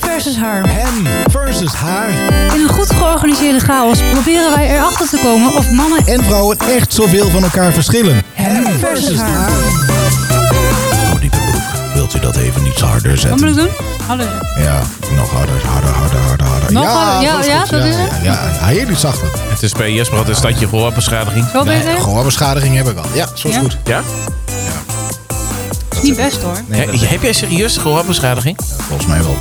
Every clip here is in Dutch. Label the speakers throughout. Speaker 1: versus haar.
Speaker 2: Hem versus haar.
Speaker 1: In een goed georganiseerde chaos proberen wij erachter te komen of mannen
Speaker 2: en vrouwen echt zoveel van elkaar verschillen.
Speaker 1: Hem versus haar.
Speaker 2: Oh, diepe broek. Wilt u dat even iets harder
Speaker 1: Wat moet
Speaker 2: zetten?
Speaker 1: ik doen? Hallo.
Speaker 2: Ja, nog harder, harder, harder, harder, harder.
Speaker 1: Nog harder? Ja,
Speaker 2: dat is
Speaker 1: ja,
Speaker 2: goed.
Speaker 1: dat is het?
Speaker 2: Ja, ja, ja, heel iets zachter.
Speaker 3: Het is bij Jesper altijd een stadje gehoorbeschadiging.
Speaker 1: Wel beter?
Speaker 2: Nee, gewoon beschadiging heb ik al. Ja, zo is
Speaker 1: Ja?
Speaker 2: goed.
Speaker 3: Ja?
Speaker 1: Dat is niet best hoor.
Speaker 2: Nee, dat-
Speaker 3: Heb jij serieus gehoorbeschadiging?
Speaker 2: volgens mij wel.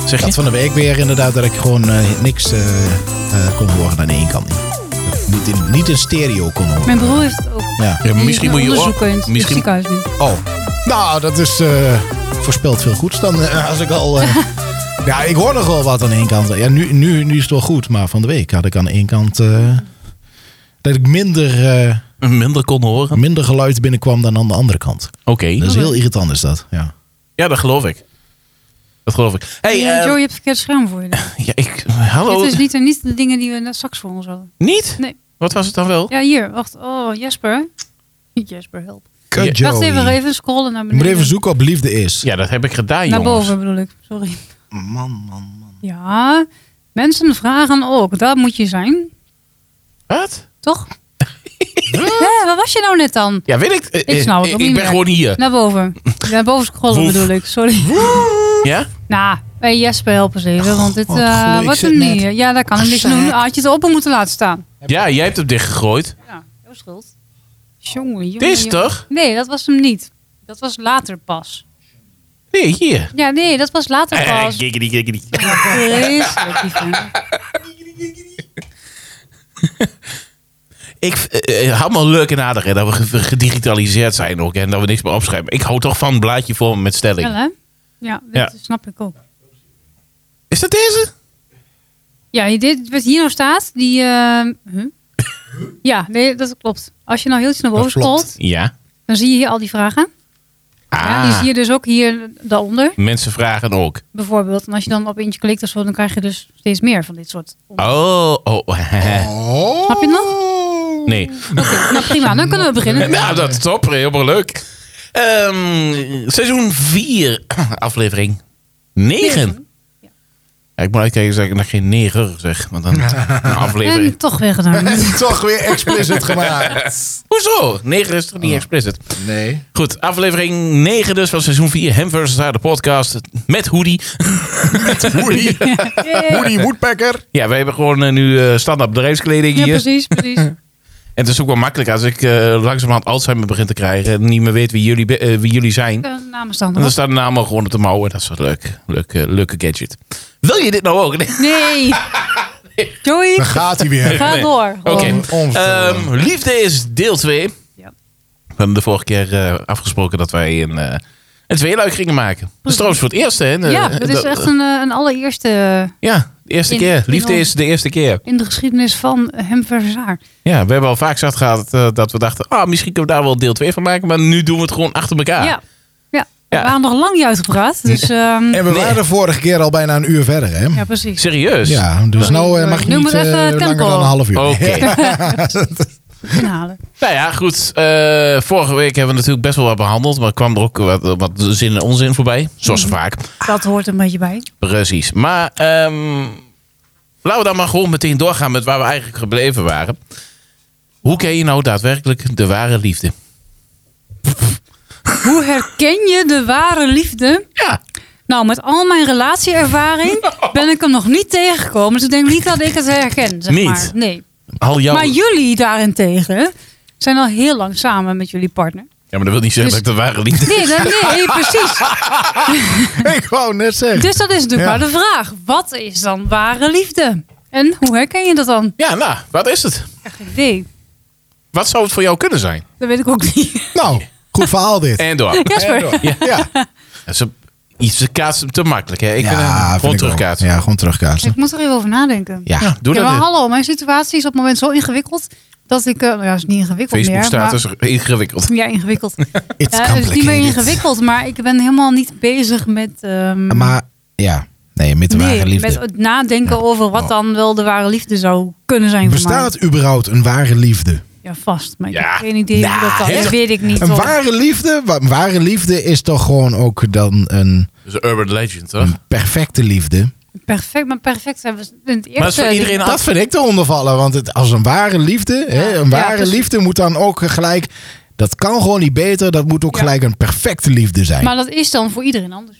Speaker 3: Zeg
Speaker 2: Ik
Speaker 3: je?
Speaker 2: had van de week weer inderdaad dat ik gewoon eh, niks eh, eh, kon horen aan één kant. Niet in, niet in stereo kon horen.
Speaker 1: Mijn broer heeft het ook. Die
Speaker 2: Ja.
Speaker 3: Ja, maar
Speaker 1: is
Speaker 3: misschien
Speaker 1: naar
Speaker 3: moet je
Speaker 1: onderzoek in het
Speaker 3: misschien-
Speaker 1: ziekenhuis nu.
Speaker 2: Oh. Nou, dat is eh, voorspelt veel goeds dan eh, als ik al. eh, ja, ik hoor nog wel wat aan één kant. Ja, nu, nu, nu is het wel goed, maar van de week had ik aan één kant. eh, dat ik minder, eh,
Speaker 3: minder kon horen. Oké.
Speaker 2: minder geluid binnenkwam dan aan de andere kant. Dat is heel irritant, is dat. Ja.
Speaker 3: Ja, dat geloof ik. Dat geloof ik. Hey,
Speaker 1: Hey,
Speaker 3: eh,
Speaker 1: Joey, je hebt verkeerd scherm voor je.
Speaker 3: ja, ik, hallo.
Speaker 1: Dit is niet, niet de dingen die we net straks voor ons hadden.
Speaker 3: Niet?
Speaker 1: Nee.
Speaker 3: Wat was het dan wel?
Speaker 1: Ja, hier. Wacht. Oh, Jesper. Jesper, help.
Speaker 3: Kut,
Speaker 2: Joey.
Speaker 1: Wacht even, even scrollen naar
Speaker 2: Je
Speaker 1: beneden.
Speaker 2: moet even zoeken op liefde is.
Speaker 3: Ja, dat heb ik gedaan,
Speaker 1: Naar
Speaker 3: jongens.
Speaker 1: boven bedoel ik. Sorry.
Speaker 2: Man, man, man.
Speaker 1: Ja, mensen vragen ook. Daar moet je zijn.
Speaker 3: Wat?
Speaker 1: Toch? Hé, waar was je nou net dan?
Speaker 3: Ja, weet ik. eh,
Speaker 1: Ik snap het
Speaker 3: eh,
Speaker 1: ook
Speaker 3: Ik
Speaker 1: niet
Speaker 3: ben
Speaker 1: meer.
Speaker 3: gewoon hier.
Speaker 1: Naar boven. Naar boven scrollen
Speaker 3: Woef.
Speaker 1: bedoel ik. Sorry.
Speaker 3: Ja?
Speaker 1: Nou, hey Jesper, help eens even. Want dit
Speaker 2: wat
Speaker 1: eh,
Speaker 2: goed, ik
Speaker 1: wordt
Speaker 2: zit
Speaker 1: hem
Speaker 2: net-
Speaker 1: niet. Ja, daar kan ik niks
Speaker 2: Zak.
Speaker 1: doen. Ah, had je het open moeten laten staan.
Speaker 3: Ja, jij hebt hem dichtgegooid.
Speaker 1: Ja, jouw schuld. Jongen, jongen.
Speaker 3: Dit is
Speaker 1: jongen.
Speaker 3: toch?
Speaker 1: Nee, dat was hem niet. Dat was later pas.
Speaker 3: Nee, hier.
Speaker 1: Ja, nee, dat was later
Speaker 3: Eh,
Speaker 1: pas.
Speaker 3: giggity, giggity.
Speaker 1: Vreselijk, die vent.
Speaker 3: Ik eh, eh, hou me leuk en aardig hè, dat we ge- gedigitaliseerd zijn ook en dat we niks meer opschrijven. Ik hou toch van een blaadje voor met stelling.
Speaker 1: Wel, hè? Ja, dat
Speaker 3: Ja.
Speaker 1: snap ik ook.
Speaker 3: Is dat deze?
Speaker 1: Ja, dit, wat hier nou staat, die... eh, huh? Ja, nee, dat klopt. Als je nou heel iets naar boven
Speaker 2: Dat klopt.
Speaker 1: scrolt,
Speaker 3: Ja.
Speaker 1: dan zie je hier al die vragen. Ja, die
Speaker 3: Ah,
Speaker 1: zie je dus ook hier daaronder,
Speaker 3: mensen vragen ook.
Speaker 1: bijvoorbeeld. En als je dan op eentje klikt of zo, dan krijg je dus steeds meer van dit soort.
Speaker 3: Oh, oh.
Speaker 2: Oh.
Speaker 1: Snap je het nog?
Speaker 3: nee.
Speaker 1: Nou prima, dan kunnen we beginnen.
Speaker 3: Nou, dat is top. Helemaal leuk. Ehm, seizoen 4, aflevering 9. Ja, ik moet uitkijken dat ik nog geen neger zeg. Want dan een aflevering.
Speaker 1: En toch weer gedaan.
Speaker 2: Toch weer explicit gemaakt.
Speaker 3: Hoezo? Neger is toch niet explicit?
Speaker 2: Nee.
Speaker 3: Goed, aflevering 9 dus van seizoen 4. Hem versus haar, de podcast met hoodie.
Speaker 2: Woody,
Speaker 1: Yay.
Speaker 2: Woody Woodpecker.
Speaker 3: Ja, wij hebben gewoon eh, nu eh, standaard bedrijfskleding
Speaker 1: Ja,
Speaker 3: hier.
Speaker 1: precies, precies.
Speaker 3: En het is ook wel makkelijk als ik eh langzamerhand Alzheimer begin te krijgen... en niet meer weet wie jullie, be- eh, wie jullie zijn.
Speaker 1: Eh, Namens dan.
Speaker 3: En dan staat de naam al gewoon op de mouwen. Dat is wat leuk. Leuk, eh, leuke gadget. Wil je dit nou ook? Nee.
Speaker 1: Nee.
Speaker 2: Daar
Speaker 1: Joey,
Speaker 2: gaat hij weer.
Speaker 1: ga
Speaker 3: Nee.
Speaker 1: door.
Speaker 3: Oké.
Speaker 1: gewoon.
Speaker 2: Onverstoorbaar.
Speaker 3: Ehm, liefde is deel 2.
Speaker 1: Ja.
Speaker 3: We hebben de vorige keer eh, afgesproken dat wij een, eh een tweeluik gingen maken. Dat is trouwens voor het eerst, hè?
Speaker 1: Ja,
Speaker 3: Eh,
Speaker 1: dat is echt een, eh, een allereerste eh,
Speaker 3: Ja, de eerste
Speaker 1: In-
Speaker 3: keer.
Speaker 1: in
Speaker 3: Liefde
Speaker 1: ons-
Speaker 3: is de eerste keer.
Speaker 1: in de geschiedenis van hem versus haar.
Speaker 3: Ja, we hebben al vaak zat gehad eh, dat we dachten... ah, misschien kunnen we daar wel deel 2 van maken. Maar nu doen we het gewoon achter elkaar.
Speaker 1: Ja. ja.
Speaker 3: Ja.
Speaker 1: We waren nog lang niet uitgepraat. Dus, ehm,
Speaker 2: En we waren de vorige keer al bijna een uur verder, hè?
Speaker 1: ja, precies.
Speaker 3: Serieus?
Speaker 2: Ja, dus nou eh, mag je
Speaker 1: Noem
Speaker 2: niet
Speaker 1: maar even
Speaker 2: eh,
Speaker 1: tempo.
Speaker 2: langer dan een half uur.
Speaker 3: Oké.
Speaker 1: Inhalen.
Speaker 3: nou ja, goed. eh, vorige week hebben we natuurlijk best wel wat behandeld. Maar kwam er ook wat, wat zin en onzin voorbij. Zoals
Speaker 1: Mhm.
Speaker 3: vaak.
Speaker 1: Dat hoort een beetje bij.
Speaker 3: Precies. Maar ehm, laten we dan maar gewoon meteen doorgaan met waar we eigenlijk gebleven waren. Hoe ken je nou daadwerkelijk de ware liefde?
Speaker 1: Hoe herken je de ware liefde?
Speaker 3: Ja.
Speaker 1: Nou, met al mijn relatieervaring ben ik hem nog niet tegengekomen. Dus ik denk niet dat ik het herken, zeg
Speaker 3: Niet?
Speaker 1: maar. Nee.
Speaker 3: Al jouw...
Speaker 1: Maar jullie daarentegen zijn al heel lang samen met jullie partner.
Speaker 3: Ja, maar dat wil niet zeggen
Speaker 1: Dus-
Speaker 3: dat ik de ware liefde...
Speaker 1: Nee, dat, nee precies.
Speaker 2: Ik wou net zeggen.
Speaker 1: Dus dat is natuurlijk
Speaker 2: Ja.
Speaker 1: maar de vraag. Wat is dan ware liefde? En hoe herken je dat dan?
Speaker 3: Ja, nou, wat is het?
Speaker 1: Geen idee.
Speaker 3: Wat zou het voor jou kunnen zijn?
Speaker 1: Dat weet ik ook niet.
Speaker 2: Nou, goed verhaal dit.
Speaker 3: En door.
Speaker 1: Jasper.
Speaker 2: Ja,
Speaker 3: Ja, Ze, iets, ze kaatsen hem te makkelijk, hè? Ik vind hem
Speaker 2: ja vind
Speaker 3: eh, gewoon
Speaker 2: ik wel.
Speaker 3: terugkaatsen.
Speaker 2: Ja, gewoon terugkaatsen.
Speaker 1: Ik moet er even over nadenken.
Speaker 3: Ja, doe
Speaker 1: Ja,
Speaker 3: dat.
Speaker 1: maar
Speaker 3: eh,
Speaker 1: hallo, mijn situatie is op het moment zo ingewikkeld dat ik, eh, nou ja, is niet ingewikkeld meer.
Speaker 3: Facebook-status ingewikkeld.
Speaker 1: maar, ja, ingewikkeld.
Speaker 2: It's
Speaker 1: Ja, het is niet meer
Speaker 2: complicated.
Speaker 1: ingewikkeld, maar ik ben helemaal niet bezig met, ehm,
Speaker 2: Maar ja, nee, met de ware
Speaker 1: nee,
Speaker 2: liefde. Oh.
Speaker 1: met het nadenken over wat dan wel de ware liefde zou kunnen zijn voor mij.
Speaker 2: Bestaat überhaupt een ware liefde?
Speaker 1: Ja, vast. Maar ik
Speaker 3: Ja.
Speaker 1: heb geen idee hoe
Speaker 2: Nou,
Speaker 1: dat dan.
Speaker 2: hè?
Speaker 1: Dat weet ik niet.
Speaker 2: Een
Speaker 1: hoor.
Speaker 2: ware liefde? Wa- Ware liefde is toch gewoon ook dan een
Speaker 3: Dus een urban legend, toch?
Speaker 2: Een perfecte liefde.
Speaker 1: Perfect, maar perfect zijn we in het eerste.
Speaker 3: Maar dat is voor iedereen
Speaker 2: Dat vind ik eronder vallen. Want het, als een ware liefde, hè, een ware
Speaker 1: dus-
Speaker 2: liefde moet dan ook gelijk... Dat kan gewoon niet beter. Dat moet ook
Speaker 1: Ja.
Speaker 2: gelijk een perfecte liefde zijn.
Speaker 1: Maar dat is dan voor iedereen anders.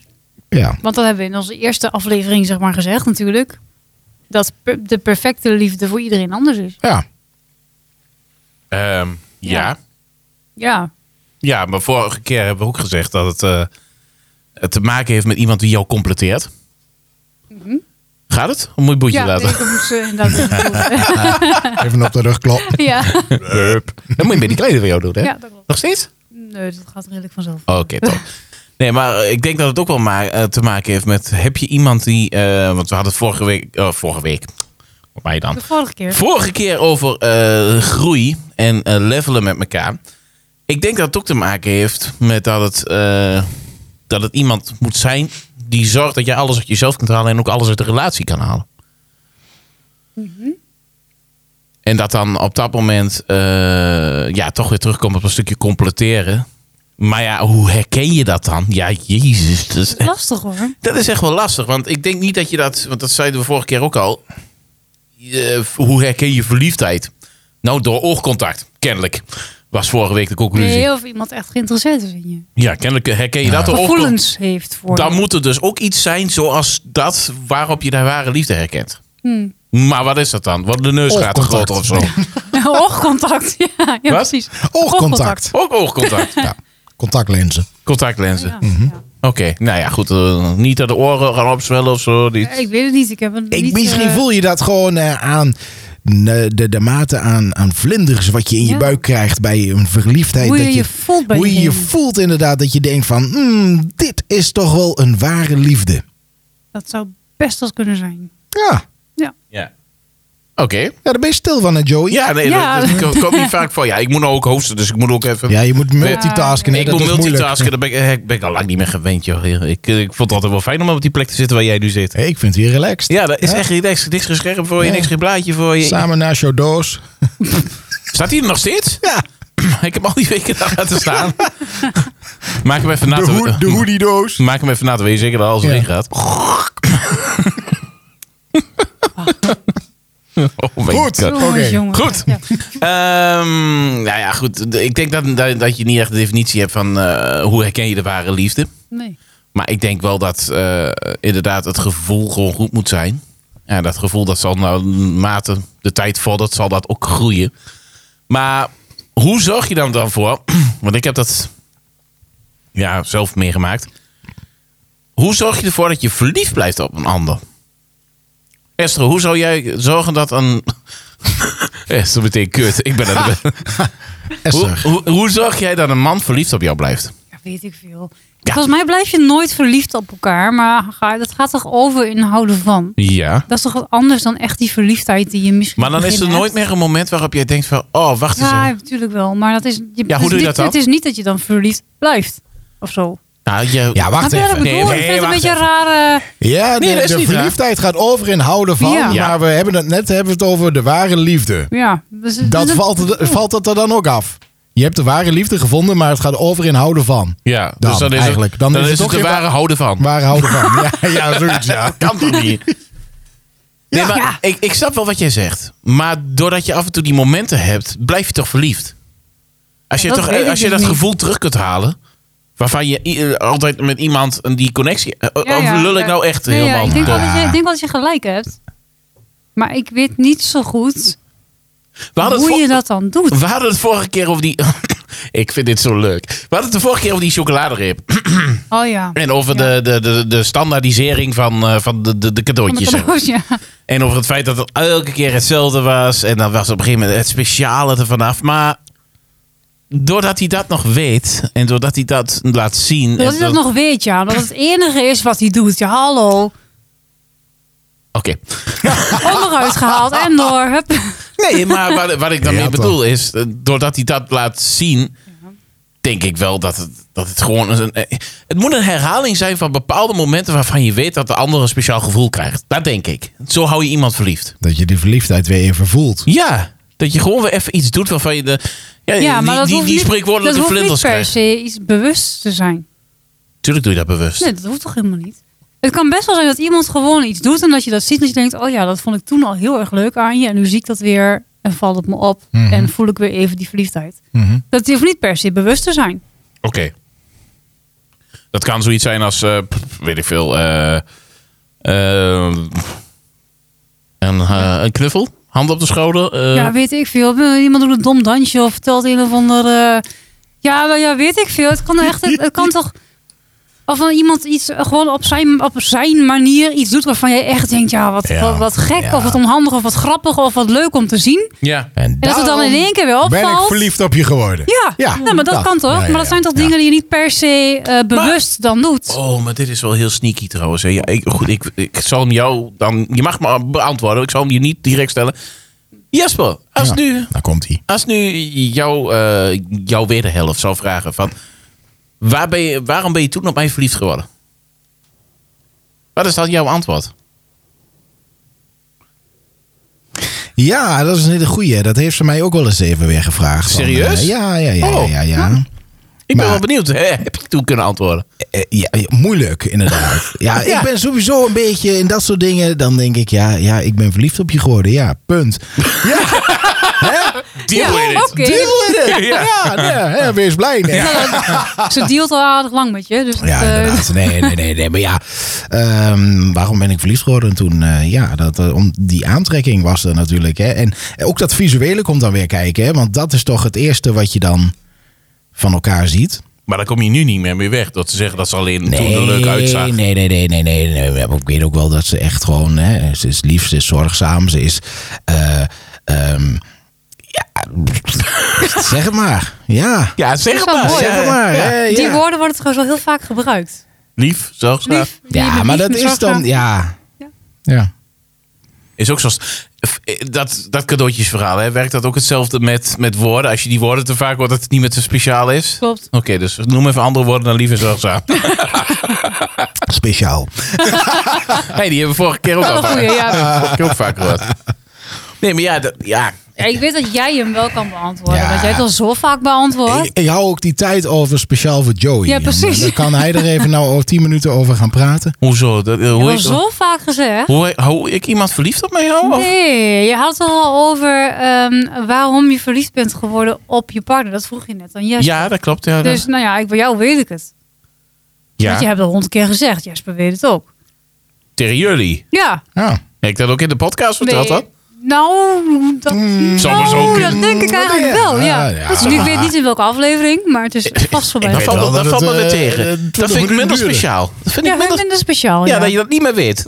Speaker 2: ja.
Speaker 1: Want dat hebben we in onze eerste aflevering zeg maar gezegd natuurlijk. Dat per- de perfecte liefde voor iedereen anders is.
Speaker 2: ja.
Speaker 3: Ehm, ja.
Speaker 1: Ja. Ja.
Speaker 3: Ja, maar vorige keer hebben we ook gezegd dat het, eh, het te maken heeft met iemand die jou completeert. Gaat het? Of moet je het boetje
Speaker 1: Mhm. ja,
Speaker 3: laten?
Speaker 1: nee, dat moet ze inderdaad doen.
Speaker 2: Even op de rug kloppen.
Speaker 1: ja.
Speaker 3: Dan moet je met die kleding van jou doen, hè?
Speaker 1: ja, dat klopt.
Speaker 3: Nog steeds?
Speaker 1: Nee, dat gaat redelijk vanzelf.
Speaker 2: Oh.
Speaker 3: Oké, top. Nee, maar eh, ik denk dat het ook wel ma- eh, te maken heeft met... Heb je iemand die... eh, want we hadden het vorige week... eh, vorige week. Wat mij dan?
Speaker 1: De vorige keer.
Speaker 3: Vorige keer over eh, groei en eh, levelen met elkaar. Ik denk dat het ook te maken heeft met dat het, eh, dat het iemand moet zijn die zorgt dat je alles uit jezelf kunt halen en ook alles uit de relatie kan halen. En dat dan op dat moment eh, ja, toch weer terugkomt op een stukje completeren. Maar ja, hoe herken je dat dan? Ja, jezus. Dat is,
Speaker 1: Dat is lastig hoor.
Speaker 3: dat is echt wel lastig, want ik denk niet dat je dat, want dat zeiden we vorige keer ook al. Je- hoe herken je verliefdheid? Nou, door oogcontact, kennelijk. Was vorige week de conclusie.
Speaker 1: Nee, of iemand echt geïnteresseerd is in je.
Speaker 3: Ja, kennelijk herken je dat door oogcontact.
Speaker 1: Gevoelens heeft voor
Speaker 3: Dan
Speaker 1: je.
Speaker 3: moet er dus ook iets zijn zoals dat waarop je de ware liefde herkent.
Speaker 1: Hmm.
Speaker 3: Maar wat is dat dan? Wat de neus gaat te
Speaker 2: Oogcontact.
Speaker 3: groot of zo?
Speaker 1: Oogcontact. Ja, ja
Speaker 3: Wat?
Speaker 1: precies.
Speaker 2: Oogcontact.
Speaker 3: Ook oogcontact.
Speaker 2: Ja. Contactlenzen.
Speaker 3: Contactlenzen.
Speaker 1: Ja, ja.
Speaker 3: Oké, nou ja, goed. eh, niet dat de oren gaan opzwellen of zo. Niet.
Speaker 1: Ik weet het niet. Ik heb een
Speaker 2: Ik,
Speaker 1: niet,
Speaker 2: misschien
Speaker 1: eh,
Speaker 2: voel je dat gewoon eh, aan eh, de, de mate aan, aan vlinders wat je in je
Speaker 1: Ja.
Speaker 2: buik krijgt bij een verliefdheid.
Speaker 1: Hoe je
Speaker 2: dat
Speaker 1: je voelt bij
Speaker 2: Hoe je je
Speaker 1: diegene.
Speaker 2: voelt inderdaad. Dat je denkt van, "Hmm, dit is toch wel een ware liefde.
Speaker 1: Dat zou best wel kunnen zijn.
Speaker 2: Ja,
Speaker 3: Ja. Oké.
Speaker 2: ja daar ben je stil van hè Joey.
Speaker 3: Ja, nee,
Speaker 1: Ja.
Speaker 3: dat, dat komt niet vaak voor. Ja, ik moet nou ook hosten, dus ik moet ook even...
Speaker 2: Ja, je moet multitasken. hè,
Speaker 3: ik
Speaker 2: dat
Speaker 3: moet
Speaker 2: is moeilijk.
Speaker 3: multitasken, daar ben ik, eh, ben ik al lang niet meer gewend, joh. Ik, ik vond het altijd wel fijn om op die plek te zitten waar jij nu zit.
Speaker 2: Hey, ik vind het hier relaxed.
Speaker 3: Ja, dat is echt niks, niks gescherpt voor je,
Speaker 2: Nee.
Speaker 3: niks geen blaadje voor je.
Speaker 2: Samen naar jouw doos.
Speaker 3: Staat hij er nog steeds?
Speaker 2: Ja,
Speaker 3: ik heb al die weken daar laten staan. Maak hem even na
Speaker 2: de,
Speaker 3: te-
Speaker 2: hoed, de hoodie doos.
Speaker 3: Maak hem even na te wezen, zeker dat alles
Speaker 2: Ja.
Speaker 3: erin gaat. Oh my
Speaker 2: Goed.
Speaker 3: God.
Speaker 2: Oké,
Speaker 1: Jongens, jongens.
Speaker 3: goed.
Speaker 1: Ja.
Speaker 3: Ehm, nou ja, goed. Ik denk dat, dat, dat je niet echt de definitie hebt van eh, hoe herken je de ware liefde.
Speaker 1: Nee.
Speaker 3: Maar ik denk wel dat eh, inderdaad het gevoel gewoon goed moet zijn. Ja, dat gevoel dat zal nou, mate de tijd vordert, zal dat ook groeien. Maar hoe zorg je dan dan voor? Want ik heb dat ja, zelf meegemaakt. Hoe zorg je ervoor dat je verliefd blijft op een ander? Esther, hoe zou jij zorgen dat een... Esther betekent kut. Ik ben het. Hoe,
Speaker 2: Esther.
Speaker 3: hoe, hoe zorg jij dat een man verliefd op jou blijft?
Speaker 1: Ja, weet ik veel. Volgens mij blijf je nooit verliefd op elkaar. Maar ga- dat gaat toch over in houden van.
Speaker 3: Ja.
Speaker 1: Dat is toch wat anders dan echt die verliefdheid die je misschien...
Speaker 3: Maar dan
Speaker 1: in het
Speaker 3: is er
Speaker 1: begin
Speaker 3: nooit
Speaker 1: hebt.
Speaker 3: meer een moment waarop jij denkt van... Oh, wacht eens
Speaker 1: Ja,
Speaker 3: even.
Speaker 1: natuurlijk wel. Maar dat is, je, dus
Speaker 3: Ja, hoe doe je
Speaker 1: dit-
Speaker 3: dat dan?
Speaker 1: Het is niet dat je dan verliefd blijft. Of zo.
Speaker 3: Nou, je-
Speaker 2: Ja, wacht
Speaker 1: Maar dat
Speaker 2: even.
Speaker 1: bedoel ik. Ik
Speaker 3: Nee, nee,
Speaker 1: vind het een
Speaker 3: wacht
Speaker 1: beetje
Speaker 3: even.
Speaker 1: rare...
Speaker 2: Ja, de,
Speaker 3: Nee, dat is
Speaker 2: de
Speaker 3: niet waar.
Speaker 2: verliefdheid gaat over in houden van.
Speaker 1: Ja.
Speaker 3: Ja.
Speaker 2: Maar we hebben het net hebben we het over de ware liefde.
Speaker 1: Ja. dus-
Speaker 2: Dat
Speaker 1: dus-
Speaker 2: valt, valt dat er dan ook af? Je hebt de ware liefde gevonden, maar het gaat over in houden van.
Speaker 3: Ja,
Speaker 2: Dan,
Speaker 3: dus dan is
Speaker 2: eigenlijk.
Speaker 3: het,
Speaker 2: Dan
Speaker 3: dan
Speaker 2: is
Speaker 3: is
Speaker 2: het
Speaker 3: het
Speaker 2: toch
Speaker 3: de
Speaker 2: weer
Speaker 3: ware houden van.
Speaker 2: Ware houden van. Ja, ja zoiets, ja.
Speaker 3: Kan toch niet? Nee, maar
Speaker 1: Ja.
Speaker 3: Ik, ik snap wel wat jij zegt. Maar doordat je af en toe die momenten hebt, blijf je toch verliefd. Als je
Speaker 1: Dat
Speaker 3: dat, toch,
Speaker 1: weet ik
Speaker 3: als je
Speaker 1: dus
Speaker 3: dat
Speaker 1: niet.
Speaker 3: gevoel terug kunt halen, waarvan je i- eh, altijd met iemand die connectie... eh,
Speaker 1: Ja,
Speaker 3: of
Speaker 1: ja,
Speaker 3: lul ik
Speaker 1: ja.
Speaker 3: nou echt
Speaker 1: Nee, ja,
Speaker 3: helemaal?
Speaker 1: ik, denk wel
Speaker 3: door?
Speaker 1: dat je, ik denk wel dat je gelijk hebt. Maar ik weet niet zo goed
Speaker 3: We hadden het
Speaker 1: hoe
Speaker 3: vor-
Speaker 1: je dat dan doet.
Speaker 3: We hadden het vorige keer over die... ik vind dit zo leuk. We hadden het de vorige keer over die chocoladereep.
Speaker 1: Oh ja.
Speaker 3: En over
Speaker 1: Ja.
Speaker 3: de, de, de, de standaardisering van, eh, van de, de, de
Speaker 1: Van de
Speaker 3: cadeautjes.
Speaker 1: cadeaus, ja.
Speaker 3: En over het feit dat het elke keer hetzelfde was. En dan was op een gegeven moment het speciale er vanaf. Maar doordat hij dat nog weet. En doordat hij dat laat zien.
Speaker 1: Dat
Speaker 3: en
Speaker 1: hij dat nog weet, ja. Dat het enige is wat hij doet. Ja, hallo.
Speaker 3: Oké.
Speaker 1: Onderuit gehaald en door. Hup.
Speaker 3: Nee, maar wat, wat ik daarmee
Speaker 2: Ja, toch.
Speaker 3: bedoel is. eh, Doordat hij dat laat zien. Denk ik wel dat het, dat het gewoon... is Een, eh, het moet een herhaling zijn van bepaalde momenten... waarvan je weet dat de ander een speciaal gevoel krijgt. Dat denk ik. Zo hou je iemand verliefd.
Speaker 2: Dat je die verliefdheid weer even voelt.
Speaker 3: Ja, dat je gewoon weer even iets doet waarvan je de. Ja,
Speaker 1: Ja,
Speaker 3: die,
Speaker 1: maar dat
Speaker 3: die,
Speaker 1: hoeft
Speaker 3: die
Speaker 1: niet, dat
Speaker 3: spreekwoordelijke
Speaker 1: hoeft niet
Speaker 3: vlinders
Speaker 1: per
Speaker 3: krijgt.
Speaker 1: se iets bewust te zijn.
Speaker 3: Tuurlijk doe je dat bewust.
Speaker 1: Nee, dat hoeft toch helemaal niet? Het kan best wel zijn dat iemand gewoon iets doet en dat je dat ziet en dat je denkt, oh ja, dat vond ik toen al heel erg leuk aan je en nu zie ik dat weer en valt het me op
Speaker 2: Mhm.
Speaker 1: en voel ik weer even die verliefdheid.
Speaker 2: Mhm.
Speaker 1: Dat hoeft niet per se bewust te zijn.
Speaker 3: Oké. Dat kan zoiets zijn als, eh, pff, weet ik veel, eh, eh, een, eh, een knuffel, hand op de schouder. eh,
Speaker 1: ja, weet ik veel. Eh, Iemand doet een dom dansje of vertelt een of ander. eh, ja, maar ja, weet ik veel. Het kan echt, het, het kan toch. Of dan iemand iets eh, gewoon op zijn, op zijn manier iets doet waarvan jij echt denkt, ja, wat,
Speaker 2: Ja,
Speaker 1: wat, wat gek,
Speaker 2: ja.
Speaker 1: of wat onhandig, of wat grappig, of wat leuk om te zien.
Speaker 3: ja.
Speaker 2: En,
Speaker 1: En dat het dan in één keer weer opvalt.
Speaker 2: ben ik verliefd op je geworden.
Speaker 1: Ja, Nou, maar dat, kan toch?
Speaker 2: Ja, ja,
Speaker 1: Maar dat zijn
Speaker 2: ja.
Speaker 1: toch dingen die je niet per se eh, bewust dan doet?
Speaker 3: Oh, maar dit is wel heel sneaky trouwens. hè. Ja, ik, goed, ik, ik zal hem jou dan... Je mag me beantwoorden. Ik zal hem je niet direct stellen. Jesper, als
Speaker 2: Ja.
Speaker 3: nu,
Speaker 2: Daar komt hij.
Speaker 3: als nu jou, eh jouw wederhelft zou vragen van... Waar ben je, waarom ben je toen op mij verliefd geworden? Wat is dan jouw antwoord?
Speaker 2: Ja, dat is een hele goeie. Dat heeft ze mij ook wel eens even weer gevraagd. Van,
Speaker 3: Serieus?
Speaker 2: eh, ja, ja, ja,
Speaker 3: Oh.
Speaker 2: ja, ja.
Speaker 3: Ik
Speaker 2: Maar-
Speaker 3: ben wel benieuwd. Hè? Heb je toen kunnen antwoorden?
Speaker 2: Eh, ja, ja, moeilijk, inderdaad. ja,
Speaker 3: Ja.
Speaker 2: ik ben sowieso een beetje in dat soort dingen. Dan denk ik, ja, ja ik ben verliefd op je geworden. Ja, punt. Ja,
Speaker 1: Ja,
Speaker 3: with it.
Speaker 1: oké.
Speaker 2: deal with it.
Speaker 3: Ja.
Speaker 2: Ja, ja, hè, wees blij. Nee. Ja.
Speaker 1: Ze dealt al aardig lang met je. Dus dat, eh,
Speaker 2: inderdaad. Nee, nee, nee, nee. Maar ja, ehm, waarom ben ik verliefd geworden toen? eh, ja, dat, eh, om die aantrekking was er natuurlijk. Hè. En ook dat visuele komt dan weer kijken. Hè, want dat is toch het eerste wat je dan van elkaar ziet.
Speaker 3: Maar dan kom je nu niet meer mee weg. Dat ze zeggen dat ze alleen toen er leuk uitzag.
Speaker 2: Nee, nee, nee, nee, nee, nee. Maar Ik weet ook wel dat ze echt gewoon, hè, ze is lief, ze is zorgzaam, ze is. eh, ehm, ja, zeg het maar. Ja.
Speaker 3: Oh, Ja,
Speaker 1: Dat
Speaker 3: zeg het
Speaker 1: is wel
Speaker 3: maar.
Speaker 1: mooi.
Speaker 2: Zeg het maar. hè,
Speaker 1: Die
Speaker 2: ja.
Speaker 1: woorden worden trouwens wel heel vaak gebruikt.
Speaker 3: Lief, zorgzaam.
Speaker 1: Lief,
Speaker 2: ja,
Speaker 1: lief,
Speaker 2: maar
Speaker 1: lief,
Speaker 2: dat is
Speaker 1: zorgzaam.
Speaker 2: dan. Ja.
Speaker 1: Ja.
Speaker 2: Ja.
Speaker 3: Is ook zoals eh, dat, dat cadeautjesverhaal. Hè? Werkt dat ook hetzelfde met, met woorden? Als je die woorden te vaak hoort, dat het niet meer te speciaal is?
Speaker 1: Klopt.
Speaker 3: Oké, dus noem even andere woorden dan lief en zorgzaam.
Speaker 2: Speciaal.
Speaker 3: hey, die hebben we vorige keer ook
Speaker 1: Wel
Speaker 3: al
Speaker 1: een
Speaker 3: vaak,
Speaker 1: goeie, ja.
Speaker 3: vorige keer ook vaak gehoord. Nee, maar ja, dat, ja.
Speaker 1: Ja, ik weet dat jij hem wel kan beantwoorden.
Speaker 2: Ja.
Speaker 1: Want jij het al zo vaak
Speaker 2: Ik,
Speaker 1: beantwoord.
Speaker 2: ik hou ook die tijd over speciaal voor Joey.
Speaker 1: Ja, precies.
Speaker 2: En Dan kan hij er even nou over tien minuten over gaan praten.
Speaker 3: hoezo? Dat, eh,
Speaker 1: Je
Speaker 3: hoe,
Speaker 1: hebt
Speaker 3: ik,
Speaker 1: al zo vaak gezegd.
Speaker 3: hoe, hoe ik iemand verliefd op mij hou? Of-
Speaker 1: Nee, je had het al over ehm, waarom je verliefd bent geworden op je partner. Dat vroeg je net aan Jesper.
Speaker 3: Ja, dat klopt. Ja,
Speaker 1: Dus
Speaker 3: dat,
Speaker 1: nou ja, ik, bij jou weet ik het. Want je
Speaker 3: ja.
Speaker 1: hebt al honderd keer gezegd. Jesper weet het ook.
Speaker 3: Tegen jullie.
Speaker 1: Ja.
Speaker 2: Ja.
Speaker 3: Heb ik dat ook in de podcast verteld?
Speaker 1: Nee.
Speaker 3: dan?
Speaker 1: Nou, dat,
Speaker 3: Zou maar zo
Speaker 1: nou,
Speaker 3: kunnen.
Speaker 1: dat denk ik eigenlijk wel. Ja.
Speaker 2: Ja, ja.
Speaker 1: Dus ik weet niet in welke aflevering, maar het is vast voorbij.
Speaker 3: Dat
Speaker 2: weet
Speaker 3: valt,
Speaker 2: wel
Speaker 3: me- dat
Speaker 2: dat
Speaker 3: valt me
Speaker 2: het,
Speaker 3: weer
Speaker 2: eh,
Speaker 3: tegen.
Speaker 2: eh, 20
Speaker 3: dat vind ik
Speaker 2: minuten
Speaker 3: minder
Speaker 2: duurde.
Speaker 3: speciaal. Dat vind
Speaker 1: Ja,
Speaker 3: ik
Speaker 1: ik
Speaker 3: minder,
Speaker 1: vind het speciaal.
Speaker 3: ja,
Speaker 1: Ja,
Speaker 3: dat je dat niet meer weet.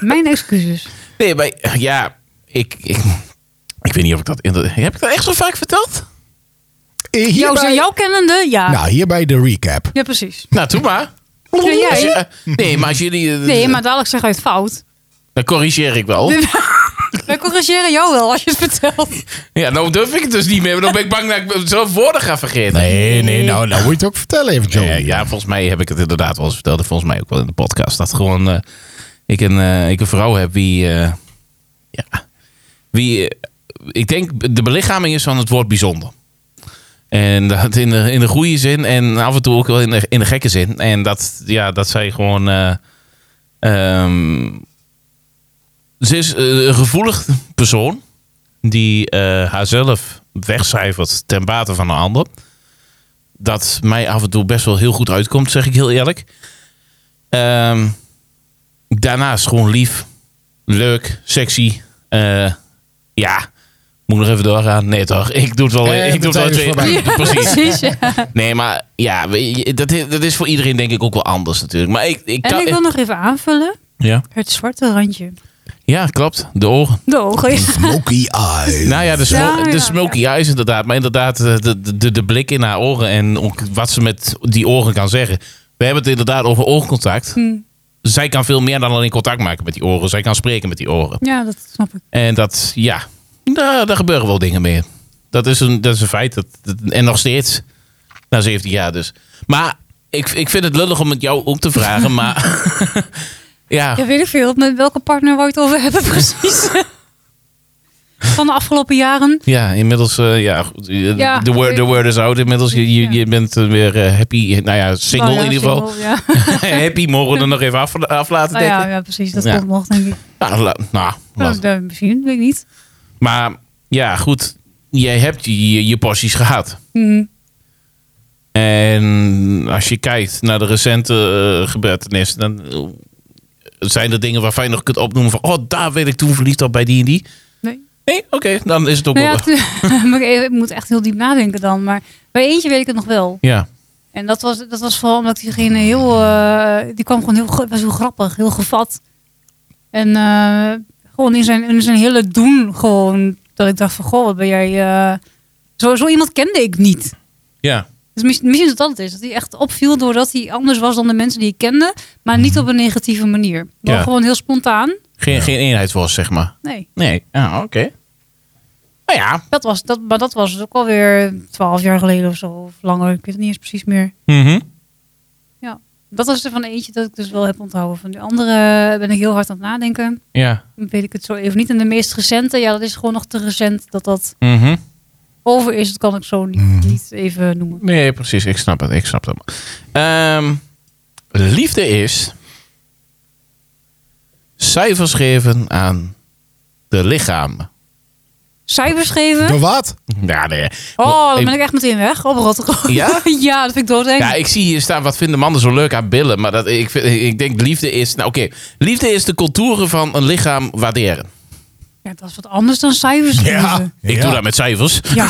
Speaker 1: Mijn excuses.
Speaker 3: Nee, maar ja, ik, ik, ik weet niet of ik dat... in de- Heb ik dat echt zo vaak verteld?
Speaker 1: Jou,
Speaker 2: Eh, Hierbij,
Speaker 1: jou kennende, ja.
Speaker 2: nou, hierbij de recap.
Speaker 1: Ja, precies.
Speaker 3: Nou, doe maar.
Speaker 1: Ja, jij?
Speaker 3: Als je- eh, nee, maar als jullie... eh,
Speaker 1: Nee, maar dadelijk zeg je het fout.
Speaker 3: Dan corrigeer ik wel.
Speaker 1: Wij corrigeren jou wel als je het vertelt.
Speaker 3: Ja, nou durf ik het dus niet meer. maar Dan ben ik bang dat ik zelf woorden ga vergeten.
Speaker 2: Nee, nee, nou, nou moet je het ook vertellen even, Joey.
Speaker 3: Ja, ja, volgens mij heb ik het inderdaad wel eens verteld. en Volgens mij ook wel in de podcast. Dat gewoon eh, ik, een, eh, ik een vrouw heb wie... eh, ja, wie eh, ik denk de belichaming is van het woord bijzonder. En dat in de, in de goede zin en af en toe ook wel in de, in de gekke zin. En dat, ja, dat zij gewoon... eh, ehm, ze is eh, een gevoelig persoon die eh, haarzelf wegcijfert ten bate van een ander dat mij af en toe best wel heel goed uitkomt, zeg ik heel eerlijk. Ehm, daarnaast gewoon lief, leuk, sexy. Eh, ja, moet ik nog even doorgaan. Nee toch, ik doe het wel.
Speaker 2: Eh,
Speaker 3: ik doe
Speaker 2: de tijd
Speaker 3: het
Speaker 2: is
Speaker 3: wel twee.
Speaker 2: voorbij.
Speaker 1: Ja,
Speaker 3: precies.
Speaker 1: precies ja.
Speaker 3: Nee, maar ja, weet je, dat, is- dat is voor iedereen denk ik ook wel anders natuurlijk. Maar ik, ik
Speaker 1: En
Speaker 3: kan-
Speaker 1: ik wil nog even aanvullen.
Speaker 3: ja.
Speaker 1: Het zwarte randje.
Speaker 3: ja, klopt. De ogen.
Speaker 1: De ogen. ja.
Speaker 2: Smoky Eye.
Speaker 3: Nou ja, de, smo-
Speaker 1: Ja,
Speaker 3: de
Speaker 1: ja,
Speaker 3: smoky eyes inderdaad. Maar inderdaad, eh, de, de, de blik in haar oren en ook wat ze met die oren kan zeggen. We hebben het inderdaad over oogcontact. Zij kan veel meer dan alleen contact maken met die oren. Zij kan spreken met die oren.
Speaker 1: Ja, dat snap ik.
Speaker 3: En dat, ja, nou, daar gebeuren wel dingen mee. Dat is een, dat is een feit. Dat, dat- en nog steeds. Na 17 jaar dus. Maar ik, ik vind het lullig om het jou ook te vragen. maar ja,
Speaker 1: Ja, weet ik veel. Met welke partner wou je het over hebben precies? van de afgelopen jaren.
Speaker 3: Ja, inmiddels, eh, ja, goed, eh,
Speaker 1: Ja.
Speaker 3: de, word, de word is out. Inmiddels, je, je, je bent eh, weer eh, happy. Nou ja, single
Speaker 1: Nou ja,
Speaker 3: in ieder geval.
Speaker 1: single, ja.
Speaker 3: happy, mogen we er nog even af, af laten
Speaker 1: Nou
Speaker 3: denken.
Speaker 1: ja, ja, precies. Dat
Speaker 3: Ja.
Speaker 1: komt nog, denk ik.
Speaker 3: Nou, la- nou,
Speaker 1: Nou,
Speaker 3: laat-
Speaker 1: dat- misschien, weet ik niet.
Speaker 3: Maar ja, goed. Jij hebt je, je, je porties gehad.
Speaker 1: Mhm.
Speaker 3: En als je kijkt naar de recente eh, gebeurtenissen, dan eh, zijn er dingen waarvan je nog kunt opnoemen van, oh, daar werd ik toen verliefd op bij die en die.
Speaker 1: Nee.
Speaker 3: Nee, oké, dan is het ook
Speaker 1: Nou
Speaker 3: wel.
Speaker 1: ja, toen- maar ik ik moet echt heel diep nadenken dan. Maar bij eentje weet ik het nog wel.
Speaker 3: Ja,
Speaker 1: En dat was, dat was vooral omdat diegene heel... eh, die kwam gewoon heel, ge- was heel grappig, heel gevat. En eh, gewoon in zijn, in zijn hele doen gewoon... Dat ik dacht van, goh, wat ben jij... eh, zo, zo iemand kende ik niet.
Speaker 3: ja,
Speaker 1: Dus mis- misschien is dat het is. Dat hij echt opviel doordat hij anders was dan de mensen die ik kende. Maar niet op een negatieve manier. Maar
Speaker 3: Hmm. Ja.
Speaker 1: gewoon heel spontaan.
Speaker 3: geen, geen eenheid was, zeg maar.
Speaker 1: Nee,
Speaker 3: Nee, ah, oké. Nou ja,
Speaker 1: dat was, dat, maar dat was ook alweer twaalf jaar geleden of zo. Of langer, ik weet het niet eens precies meer.
Speaker 3: mhm.
Speaker 1: Dat was er van eentje dat ik dus wel heb onthouden. Van de andere ben ik heel hard aan het nadenken.
Speaker 3: ja,
Speaker 1: Weet ik het zo even niet. En de meest recente, ja, dat is gewoon nog te recent dat dat
Speaker 3: mhm.
Speaker 1: over is. Dat kan ik zo
Speaker 3: Mm.
Speaker 1: niet, niet even noemen.
Speaker 3: Nee, precies. Ik snap het. Ik snap het. Ehm, liefde is cijfers geven aan de lichamen.
Speaker 1: Cijfers geven.
Speaker 2: Door wat?
Speaker 3: Ja, nee.
Speaker 1: Oh, dan
Speaker 3: Ik-
Speaker 1: ben ik echt meteen weg. Oprotten gewoon.
Speaker 3: Ja?
Speaker 1: ja, dat vind ik doodeng.
Speaker 3: ja, ik zie hier staan, wat vinden mannen zo leuk aan billen? Maar dat, ik, vind, ik denk liefde is... Nou oké, liefde is de contouren van een lichaam waarderen.
Speaker 1: Ja, dat is wat anders dan cijfers geven.
Speaker 3: Ik doe dat met cijfers.
Speaker 1: Ja.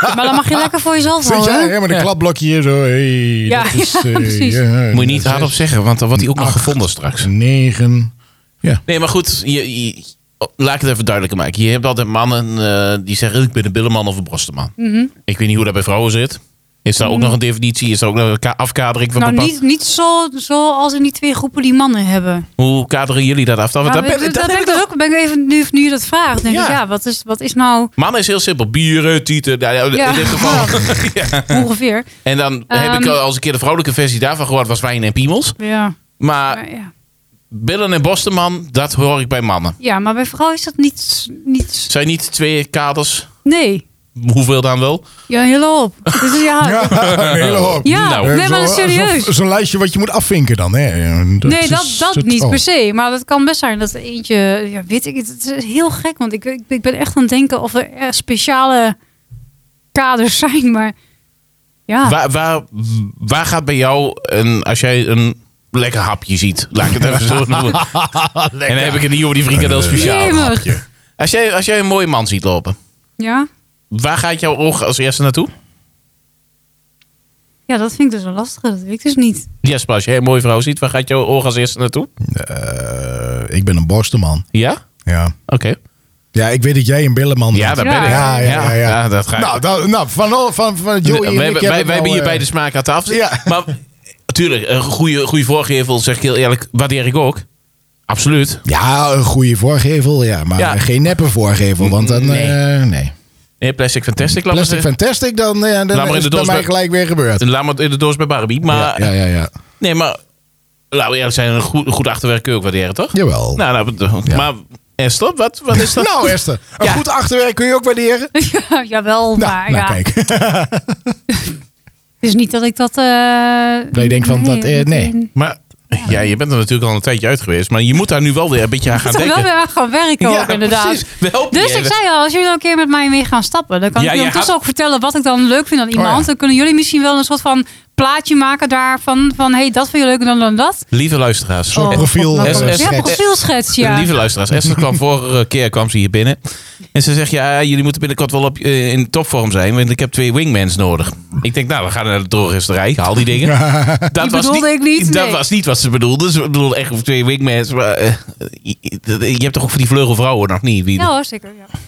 Speaker 1: maar dan mag je lekker voor jezelf
Speaker 2: Zit
Speaker 1: houden.
Speaker 2: jij?
Speaker 1: Oh, hè?
Speaker 2: Ja, maar de klapblokje hier zo. Hey,
Speaker 1: Ja,
Speaker 2: dat is, eh,
Speaker 1: ja, precies.
Speaker 2: ja,
Speaker 3: Moet je niet
Speaker 2: dat
Speaker 3: hardop
Speaker 2: is
Speaker 3: zeggen, want dan wordt hij ook nog
Speaker 2: Acht.
Speaker 3: gevonden straks.
Speaker 2: Negen.
Speaker 3: Nee, maar goed, je, je- oh, laat ik het even duidelijker maken. Je hebt altijd mannen eh, die zeggen: ik ben een billenman of een borstenman.
Speaker 1: Mhm.
Speaker 3: Ik weet niet hoe dat bij vrouwen zit. Is daar ook nog een definitie? Is daar ook nog een ka- afkadering van
Speaker 1: Nou,
Speaker 3: bepaal-
Speaker 1: niet, niet zo, zo als in die twee groepen die mannen hebben.
Speaker 3: Hoe kaderen jullie dat af? Dan, want
Speaker 1: Ja,
Speaker 3: daar ben-
Speaker 1: dat
Speaker 3: daar
Speaker 1: ben
Speaker 3: heb
Speaker 1: ik
Speaker 3: ik
Speaker 1: dus ook. Ben ik even, nu, nu je dat vraagt, denk
Speaker 3: Ja.
Speaker 1: ik, ja, wat is, wat is nou
Speaker 3: nog- Mannen is heel simpel. Bieren, tieten, nou ja,
Speaker 1: Ja.
Speaker 3: in dit geval. Ja.
Speaker 1: ongeveer?
Speaker 3: En dan heb ik
Speaker 1: Ehm.
Speaker 3: al eens een keer de vrouwelijke versie daarvan gehoord. was wijn en piemels.
Speaker 1: Ja.
Speaker 3: Maar
Speaker 1: Maar, ja.
Speaker 3: billen en borstenman, dat hoor ik bij mannen.
Speaker 1: ja, maar bij vrouwen is dat niet... niet
Speaker 3: Zijn niet twee kaders?
Speaker 1: nee.
Speaker 3: Hoeveel dan wel?
Speaker 1: Ja, heel op. Dus ja,
Speaker 2: Ja, een hele hoop.
Speaker 1: ja
Speaker 3: Nou,
Speaker 1: nee, maar
Speaker 2: Zo-
Speaker 1: dat is serieus.
Speaker 2: zo- Zo'n lijstje wat je moet afvinken dan. Hè. Dat
Speaker 1: nee,
Speaker 2: is-
Speaker 1: dat, dat niet
Speaker 2: oh.
Speaker 1: per se. Maar dat kan best zijn dat er eentje... Ja, weet ik, het is heel gek. Want ik, ik, ik ben echt aan het denken of er eh, speciale kaders zijn. Maar
Speaker 2: Ah.
Speaker 1: ja,
Speaker 3: Waar, waar, waar gaat bij jou een, als jij een lekker hapje ziet? Laat ik het even zo noemen. En dan heb ik het niet over die frikandel speciaal.
Speaker 1: Jemig.
Speaker 3: Als jij, als jij een mooie man ziet lopen,
Speaker 1: ja,
Speaker 3: waar gaat jouw oog als eerste naartoe?
Speaker 1: ja, dat vind ik dus een lastige. Dat weet ik dus niet.
Speaker 3: Jesper, als jij een mooie vrouw ziet, waar gaat jouw oog als eerste naartoe?
Speaker 2: Eh, ik ben een borstenman.
Speaker 3: Ja?
Speaker 2: Ja.
Speaker 3: Oké.
Speaker 2: ja, ik weet dat jij een billenman
Speaker 3: Ja,
Speaker 2: bent.
Speaker 3: daar
Speaker 1: Ja.
Speaker 3: ben ik.
Speaker 2: Ja, ja, ja, ja.
Speaker 3: dat ga ik.
Speaker 2: Nou, dat- nou van, al- van, van Joey en
Speaker 3: wij
Speaker 2: ik eh,
Speaker 3: hebben, wij, wij hebben hier
Speaker 2: bij
Speaker 3: beide smaak aan tafel.
Speaker 2: Ja.
Speaker 3: Maar natuurlijk, een goede, goede voorgevel, zeg ik heel eerlijk, waardeer ik ook. Absoluut.
Speaker 2: Ja, een goede voorgevel, ja. Maar
Speaker 3: Ja.
Speaker 2: geen neppe voorgevel, want dan...
Speaker 3: Nee.
Speaker 2: Nee. nee.
Speaker 3: Nee, plastic fantastic. laat maar
Speaker 2: Plastic
Speaker 3: zeggen.
Speaker 2: Fantastic, dan, eh, ja,
Speaker 3: maar
Speaker 2: dan
Speaker 3: in
Speaker 2: is het
Speaker 3: de
Speaker 2: bij
Speaker 3: doos
Speaker 2: mij
Speaker 3: bij-
Speaker 2: gelijk weer gebeurd.
Speaker 3: Laat maar in de doos bij Barbie. Maar
Speaker 2: Ja, ja, ja.
Speaker 3: Nee, maar laten we eerlijk zijn, een goed, een goed achterwerk kun je ook waarderen, toch?
Speaker 2: Jawel. Nou,
Speaker 3: Nou, nou,
Speaker 2: Ja.
Speaker 3: maar Esther, wat, wat is dat?
Speaker 2: Nou, Esther, een
Speaker 3: Ja.
Speaker 2: goed achterwerk kun je ook waarderen.
Speaker 1: ja, jawel,
Speaker 2: Nou,
Speaker 1: maar
Speaker 2: nou,
Speaker 1: ja.
Speaker 2: kijk.
Speaker 1: Het is niet dat ik dat... eh
Speaker 2: Dat je denkt van, dat, eh, nee.
Speaker 1: meteen-
Speaker 3: Maar ja, je bent er natuurlijk al een tijdje uit geweest, maar je moet daar nu wel weer een beetje aan gaan
Speaker 1: Ik moet er wel
Speaker 3: denken.
Speaker 1: weer aan gaan werken ook, inderdaad.
Speaker 2: Oh,
Speaker 3: precies. We helpen
Speaker 1: Dus
Speaker 3: je
Speaker 1: ik
Speaker 3: even.
Speaker 1: zei al, als jullie dan een keer met mij mee gaan stappen, dan kan
Speaker 3: Ja,
Speaker 1: ik
Speaker 3: jij
Speaker 1: jullie ondertussen
Speaker 3: gaat-
Speaker 1: ook vertellen wat ik dan leuk vind aan iemand.
Speaker 2: Oh ja.
Speaker 1: Dan kunnen jullie misschien wel een soort van plaatje maken daarvan. Van hey, dat vind je leuker dan, dan dat.
Speaker 3: Lieve luisteraars.
Speaker 2: Zo'n
Speaker 1: Oh,
Speaker 2: profiel.
Speaker 1: God,
Speaker 2: eh,
Speaker 3: wat een-
Speaker 1: Ja,
Speaker 2: schets.
Speaker 1: profielschets, ja.
Speaker 3: Lieve luisteraars, Esther kwam vorige keer kwam ze hier binnen. En ze zegt, ja, jullie moeten binnenkort wel op, eh, in topvorm zijn, want ik heb twee wingmans nodig. Ik denk, nou, we gaan naar de drogisterij, haal die dingen. Dat
Speaker 1: Die bedoelde ik niet,
Speaker 3: Dat
Speaker 1: nee.
Speaker 3: was niet wat ze bedoelde. Ze bedoelde echt over twee wingmans. Maar, eh, je, je hebt toch ook voor die vleugelvrouwen nog niet? Wie-
Speaker 1: Ja hoor, zeker. Ja.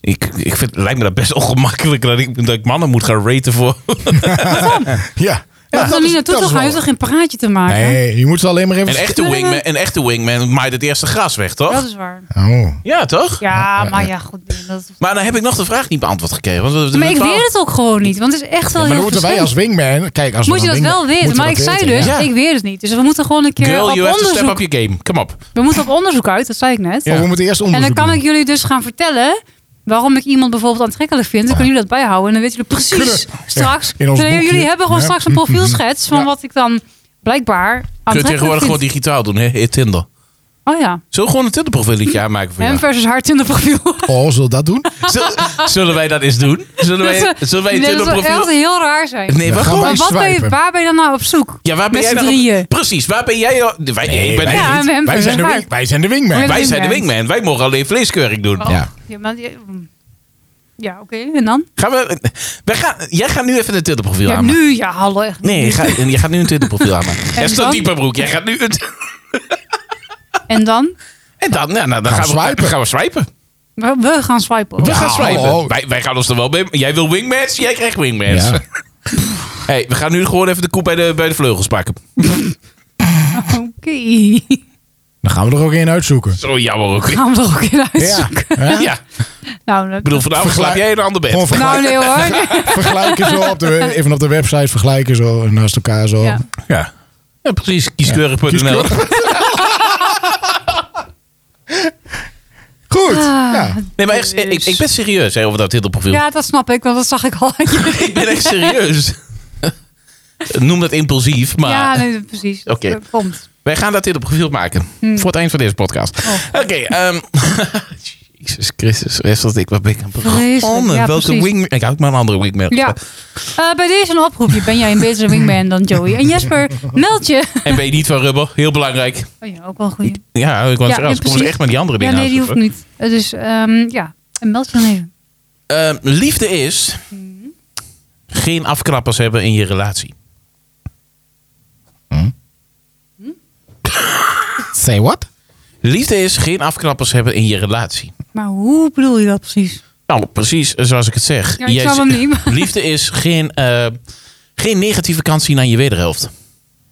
Speaker 3: ik, ik vind, het lijkt me dat best ongemakkelijk dat ik, dat ik mannen moet gaan raten voor.
Speaker 2: Ja.
Speaker 1: Ja,
Speaker 2: dat
Speaker 1: dan
Speaker 2: is-
Speaker 1: niet naartoe
Speaker 2: dat
Speaker 1: te
Speaker 2: is
Speaker 1: gaan, je
Speaker 2: wel-
Speaker 1: hoeft toch geen praatje te maken?
Speaker 2: Nee, je moet ze alleen maar even...
Speaker 3: Een echte wingman, een echte wingman maait het eerste gras weg,
Speaker 1: Dat
Speaker 3: toch?
Speaker 1: is waar.
Speaker 2: Oh.
Speaker 3: Ja, toch?
Speaker 1: Ja, maar ja, goed. Dat...
Speaker 2: Dus
Speaker 3: Maar dan heb ik nog de vraag niet beantwoord gekregen. Want we- we-
Speaker 1: Maar ik
Speaker 3: we-
Speaker 1: weet het ook gewoon niet, want het is echt wel
Speaker 2: Ja, maar dan
Speaker 1: heel
Speaker 2: moeten wij als
Speaker 1: verschillend.
Speaker 2: wingman... Kijk, als we
Speaker 1: Moet je
Speaker 2: een
Speaker 1: dat
Speaker 2: wingman-
Speaker 1: wel weten,
Speaker 2: moeten
Speaker 1: maar
Speaker 2: we
Speaker 1: ik
Speaker 2: dat
Speaker 1: zei
Speaker 2: weten,
Speaker 1: dus,
Speaker 2: ja.
Speaker 3: ja.
Speaker 1: ik weet het niet. Dus we moeten gewoon een keer
Speaker 3: Girl,
Speaker 1: op
Speaker 3: you have to step
Speaker 1: onderzoek.
Speaker 3: up your game. Kom op.
Speaker 1: We moeten op onderzoek uit, dat zei ik net.
Speaker 2: Oh, we moeten eerst
Speaker 1: En
Speaker 2: onderzoek
Speaker 1: dan kan
Speaker 2: doen.
Speaker 1: ik jullie dus gaan vertellen waarom ik iemand bijvoorbeeld aantrekkelijk vind. Dan kunnen jullie dat bijhouden. En dan weten jullie precies
Speaker 2: Kunnen-
Speaker 1: straks.
Speaker 2: in ons
Speaker 1: Nee,
Speaker 2: boekje.
Speaker 1: jullie hebben gewoon
Speaker 2: Ja.
Speaker 1: straks een profielschets van
Speaker 2: Ja.
Speaker 1: wat ik dan blijkbaar
Speaker 3: Kun je
Speaker 1: aantrekkelijk
Speaker 3: tegenwoordig gewoon
Speaker 1: vind.
Speaker 3: digitaal doen, hè? in Tinder.
Speaker 1: Oh ja,
Speaker 3: Zullen we gewoon een Tinder-profieletje aanmaken voor
Speaker 1: hem
Speaker 3: jou?
Speaker 1: versus haar Tinder profiel.
Speaker 2: Oh, zullen we dat doen?
Speaker 3: Zullen, zullen wij dat eens doen? Zullen wij, zullen wij een
Speaker 1: nee, dat zou echt
Speaker 3: Tinder-profiel...
Speaker 1: heel raar zijn.
Speaker 3: Nee,
Speaker 2: We
Speaker 3: maar
Speaker 2: gaan
Speaker 3: gewoon...
Speaker 1: maar wat ben je,
Speaker 2: swipen.
Speaker 1: waar ben je dan nou op zoek?
Speaker 3: Ja, waar ben
Speaker 1: Met
Speaker 3: jij
Speaker 1: z'n
Speaker 3: nou-
Speaker 1: drieën.
Speaker 3: Precies, waar ben jij... nou- Wij, ik ben,
Speaker 1: Ja,
Speaker 2: niet.
Speaker 1: we hebben
Speaker 2: wij, zijn de
Speaker 1: hem
Speaker 2: wing, wij zijn de wingman.
Speaker 1: Ja.
Speaker 3: wij zijn de
Speaker 1: wingman.
Speaker 3: wingman. Wij mogen alleen vleeskeuring doen.
Speaker 1: Oh,
Speaker 2: Ja.
Speaker 1: ja, maar- ja, mm. ja oké. En dan?
Speaker 3: Gaan we, wij gaan, jij gaat nu even een Tinder-profiel
Speaker 1: Ja,
Speaker 3: aanmaken.
Speaker 1: nu, ja, hallo. Echt.
Speaker 3: Nee, je gaat, je gaat nu een Tinder-profiel aanmaken.
Speaker 1: En
Speaker 3: Er staat
Speaker 1: dan?
Speaker 3: diepe broek. Jij gaat nu een...
Speaker 1: En dan?
Speaker 3: En dan, nou, nou, dan
Speaker 2: Gaan
Speaker 3: gaan,
Speaker 2: we
Speaker 3: we
Speaker 2: swipen.
Speaker 3: Gaan we swipen.
Speaker 1: We, we gaan swipen.
Speaker 3: We
Speaker 1: hoor.
Speaker 3: gaan swipen.
Speaker 2: hallo.
Speaker 3: Wij, wij gaan ons er wel bij... Jij wil wingmans, jij krijgt wingmans.
Speaker 2: Ja.
Speaker 3: Hey, we gaan nu gewoon even de koe bij de, bij de vleugels pakken.
Speaker 1: Oké.
Speaker 2: Dan gaan we er ook één uitzoeken.
Speaker 3: Zo jammer ook.
Speaker 1: Gaan we er ook in
Speaker 2: Ja.
Speaker 1: uitzoeken.
Speaker 2: Hè?
Speaker 3: Ja, ik
Speaker 1: Nou, dat-
Speaker 3: bedoel, Oh, vanavond
Speaker 2: Vergelijk-
Speaker 3: slaap jij in een ander bed.
Speaker 2: Gewoon
Speaker 1: nou,
Speaker 2: vergelijk-
Speaker 1: nee hoor. Nee.
Speaker 2: vergelijken zo. Op de, even op de website vergelijken zo. en Naast elkaar zo.
Speaker 1: Ja.
Speaker 3: Ja. ja, precies. Kieskeurig.nl.
Speaker 2: Goed.
Speaker 1: Ah.
Speaker 2: Ja.
Speaker 3: Nee, maar echt, ik, ik ben serieus hè, over dat Tinder-profiel.
Speaker 1: Ja, dat snap ik, want dat zag ik al. aan je.
Speaker 3: Ik ben echt serieus. Noem dat impulsief, maar
Speaker 1: Ja, nee, precies. Dat,
Speaker 3: Oké.
Speaker 1: eh, Komt.
Speaker 3: wij gaan dat Tinder-profiel maken.
Speaker 1: Hm.
Speaker 3: Voor het eind van deze podcast.
Speaker 1: Oh.
Speaker 3: Oké, ehm, Jezus Christus, rest dat ik wat ben ik aan het
Speaker 1: Vreselijk,
Speaker 3: begonnen.
Speaker 1: ja,
Speaker 3: Welke
Speaker 1: precies.
Speaker 3: wing... Ik houd maar een andere wingman.
Speaker 1: Ja. Eh, bij deze een oproepje. Ben jij een betere wingman dan Joey? En Jesper, meld je.
Speaker 3: En ben je niet van rubber? Heel belangrijk.
Speaker 1: Oh ja, ook wel een goeie.
Speaker 3: Ja, ik wou
Speaker 1: Ja,
Speaker 3: zeggen, anders
Speaker 1: ja,
Speaker 3: komen ze
Speaker 1: precies.
Speaker 3: echt met die andere
Speaker 1: Ja,
Speaker 3: dingen
Speaker 1: nee, die hoeft
Speaker 3: aanzoeken.
Speaker 1: niet. Eh, Dus ehm, ja, en meld je dan even.
Speaker 3: Ehm, liefde is geen afknappers hebben in je relatie.
Speaker 2: Say what?
Speaker 3: Liefde is geen afknappers hebben in je relatie.
Speaker 1: Maar hoe bedoel je dat precies?
Speaker 3: Nou, precies zoals ik het zeg.
Speaker 1: Ja, ik
Speaker 3: Jij
Speaker 1: snap hem
Speaker 3: zegt-
Speaker 1: niet, maar-
Speaker 3: Liefde is geen, eh, geen negatieve kant zien aan je wederhelft.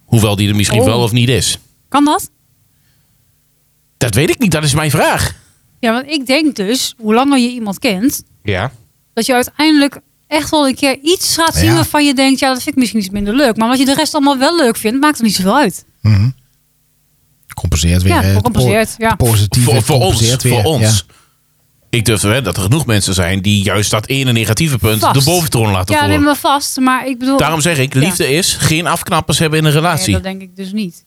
Speaker 3: Hoewel die er misschien
Speaker 1: Oh.
Speaker 3: wel of niet is.
Speaker 1: Kan dat?
Speaker 3: Dat weet ik niet, dat is mijn vraag.
Speaker 1: Ja, want ik denk dus, hoe langer je iemand kent,
Speaker 3: Ja.
Speaker 1: dat je uiteindelijk echt wel een keer iets gaat zien
Speaker 2: Ja.
Speaker 1: waarvan je denkt, ja, dat vind ik misschien iets minder leuk. Maar omdat je de rest allemaal wel leuk vindt, maakt het niet zoveel uit.
Speaker 2: Mhm. Compenseert weer.
Speaker 1: Ja,
Speaker 2: eh,
Speaker 1: compenseert,
Speaker 2: po-
Speaker 1: ja.
Speaker 2: Positief.
Speaker 3: Voor, voor ons.
Speaker 2: compenseert
Speaker 3: Voor
Speaker 2: weer,
Speaker 3: ons. Ik durf te wedden dat er genoeg mensen zijn die juist dat ene negatieve punt
Speaker 1: Vast.
Speaker 3: de boventroon laten
Speaker 1: ja,
Speaker 3: voelen.
Speaker 1: neem me vast, maar ik bedoel...
Speaker 3: Daarom zeg ik,
Speaker 1: Ja.
Speaker 3: liefde is geen afknappers hebben in een
Speaker 1: Nee,
Speaker 3: relatie.
Speaker 1: dat denk ik dus niet.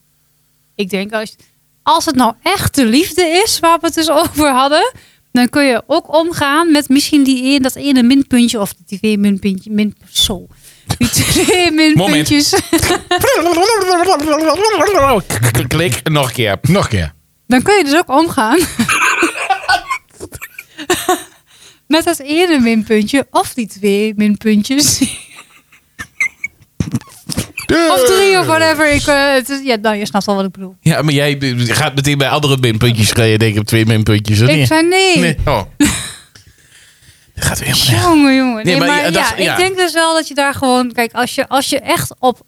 Speaker 1: Ik denk, als, als het nou echt de liefde is waar we het dus over hadden, dan kun je ook omgaan met misschien die een, dat ene minpuntje of die twee minpuntjes. Min, zo. Die twee minpuntjes.
Speaker 3: Klik, nog een keer.
Speaker 2: ja. Nog een keer.
Speaker 1: Dan kun je dus ook omgaan. Met dat ene minpuntje of die twee minpuntjes. Of drie of whatever. Ik, eh, het is, ja, nou, je snapt al wat ik bedoel.
Speaker 3: Ja, maar jij gaat meteen bij andere minpuntjes. Ga je denken op twee minpuntjes. of
Speaker 1: Ik
Speaker 3: niet?
Speaker 1: zei nee.
Speaker 3: Nee. Oh. Dat gaat weer helemaal nergens.
Speaker 1: Jongen, jongen. Nee,
Speaker 3: maar
Speaker 1: maar,
Speaker 3: ja,
Speaker 1: ja,
Speaker 3: dat- ja.
Speaker 1: ik denk dus wel dat je daar gewoon... Kijk, als je, als je echt op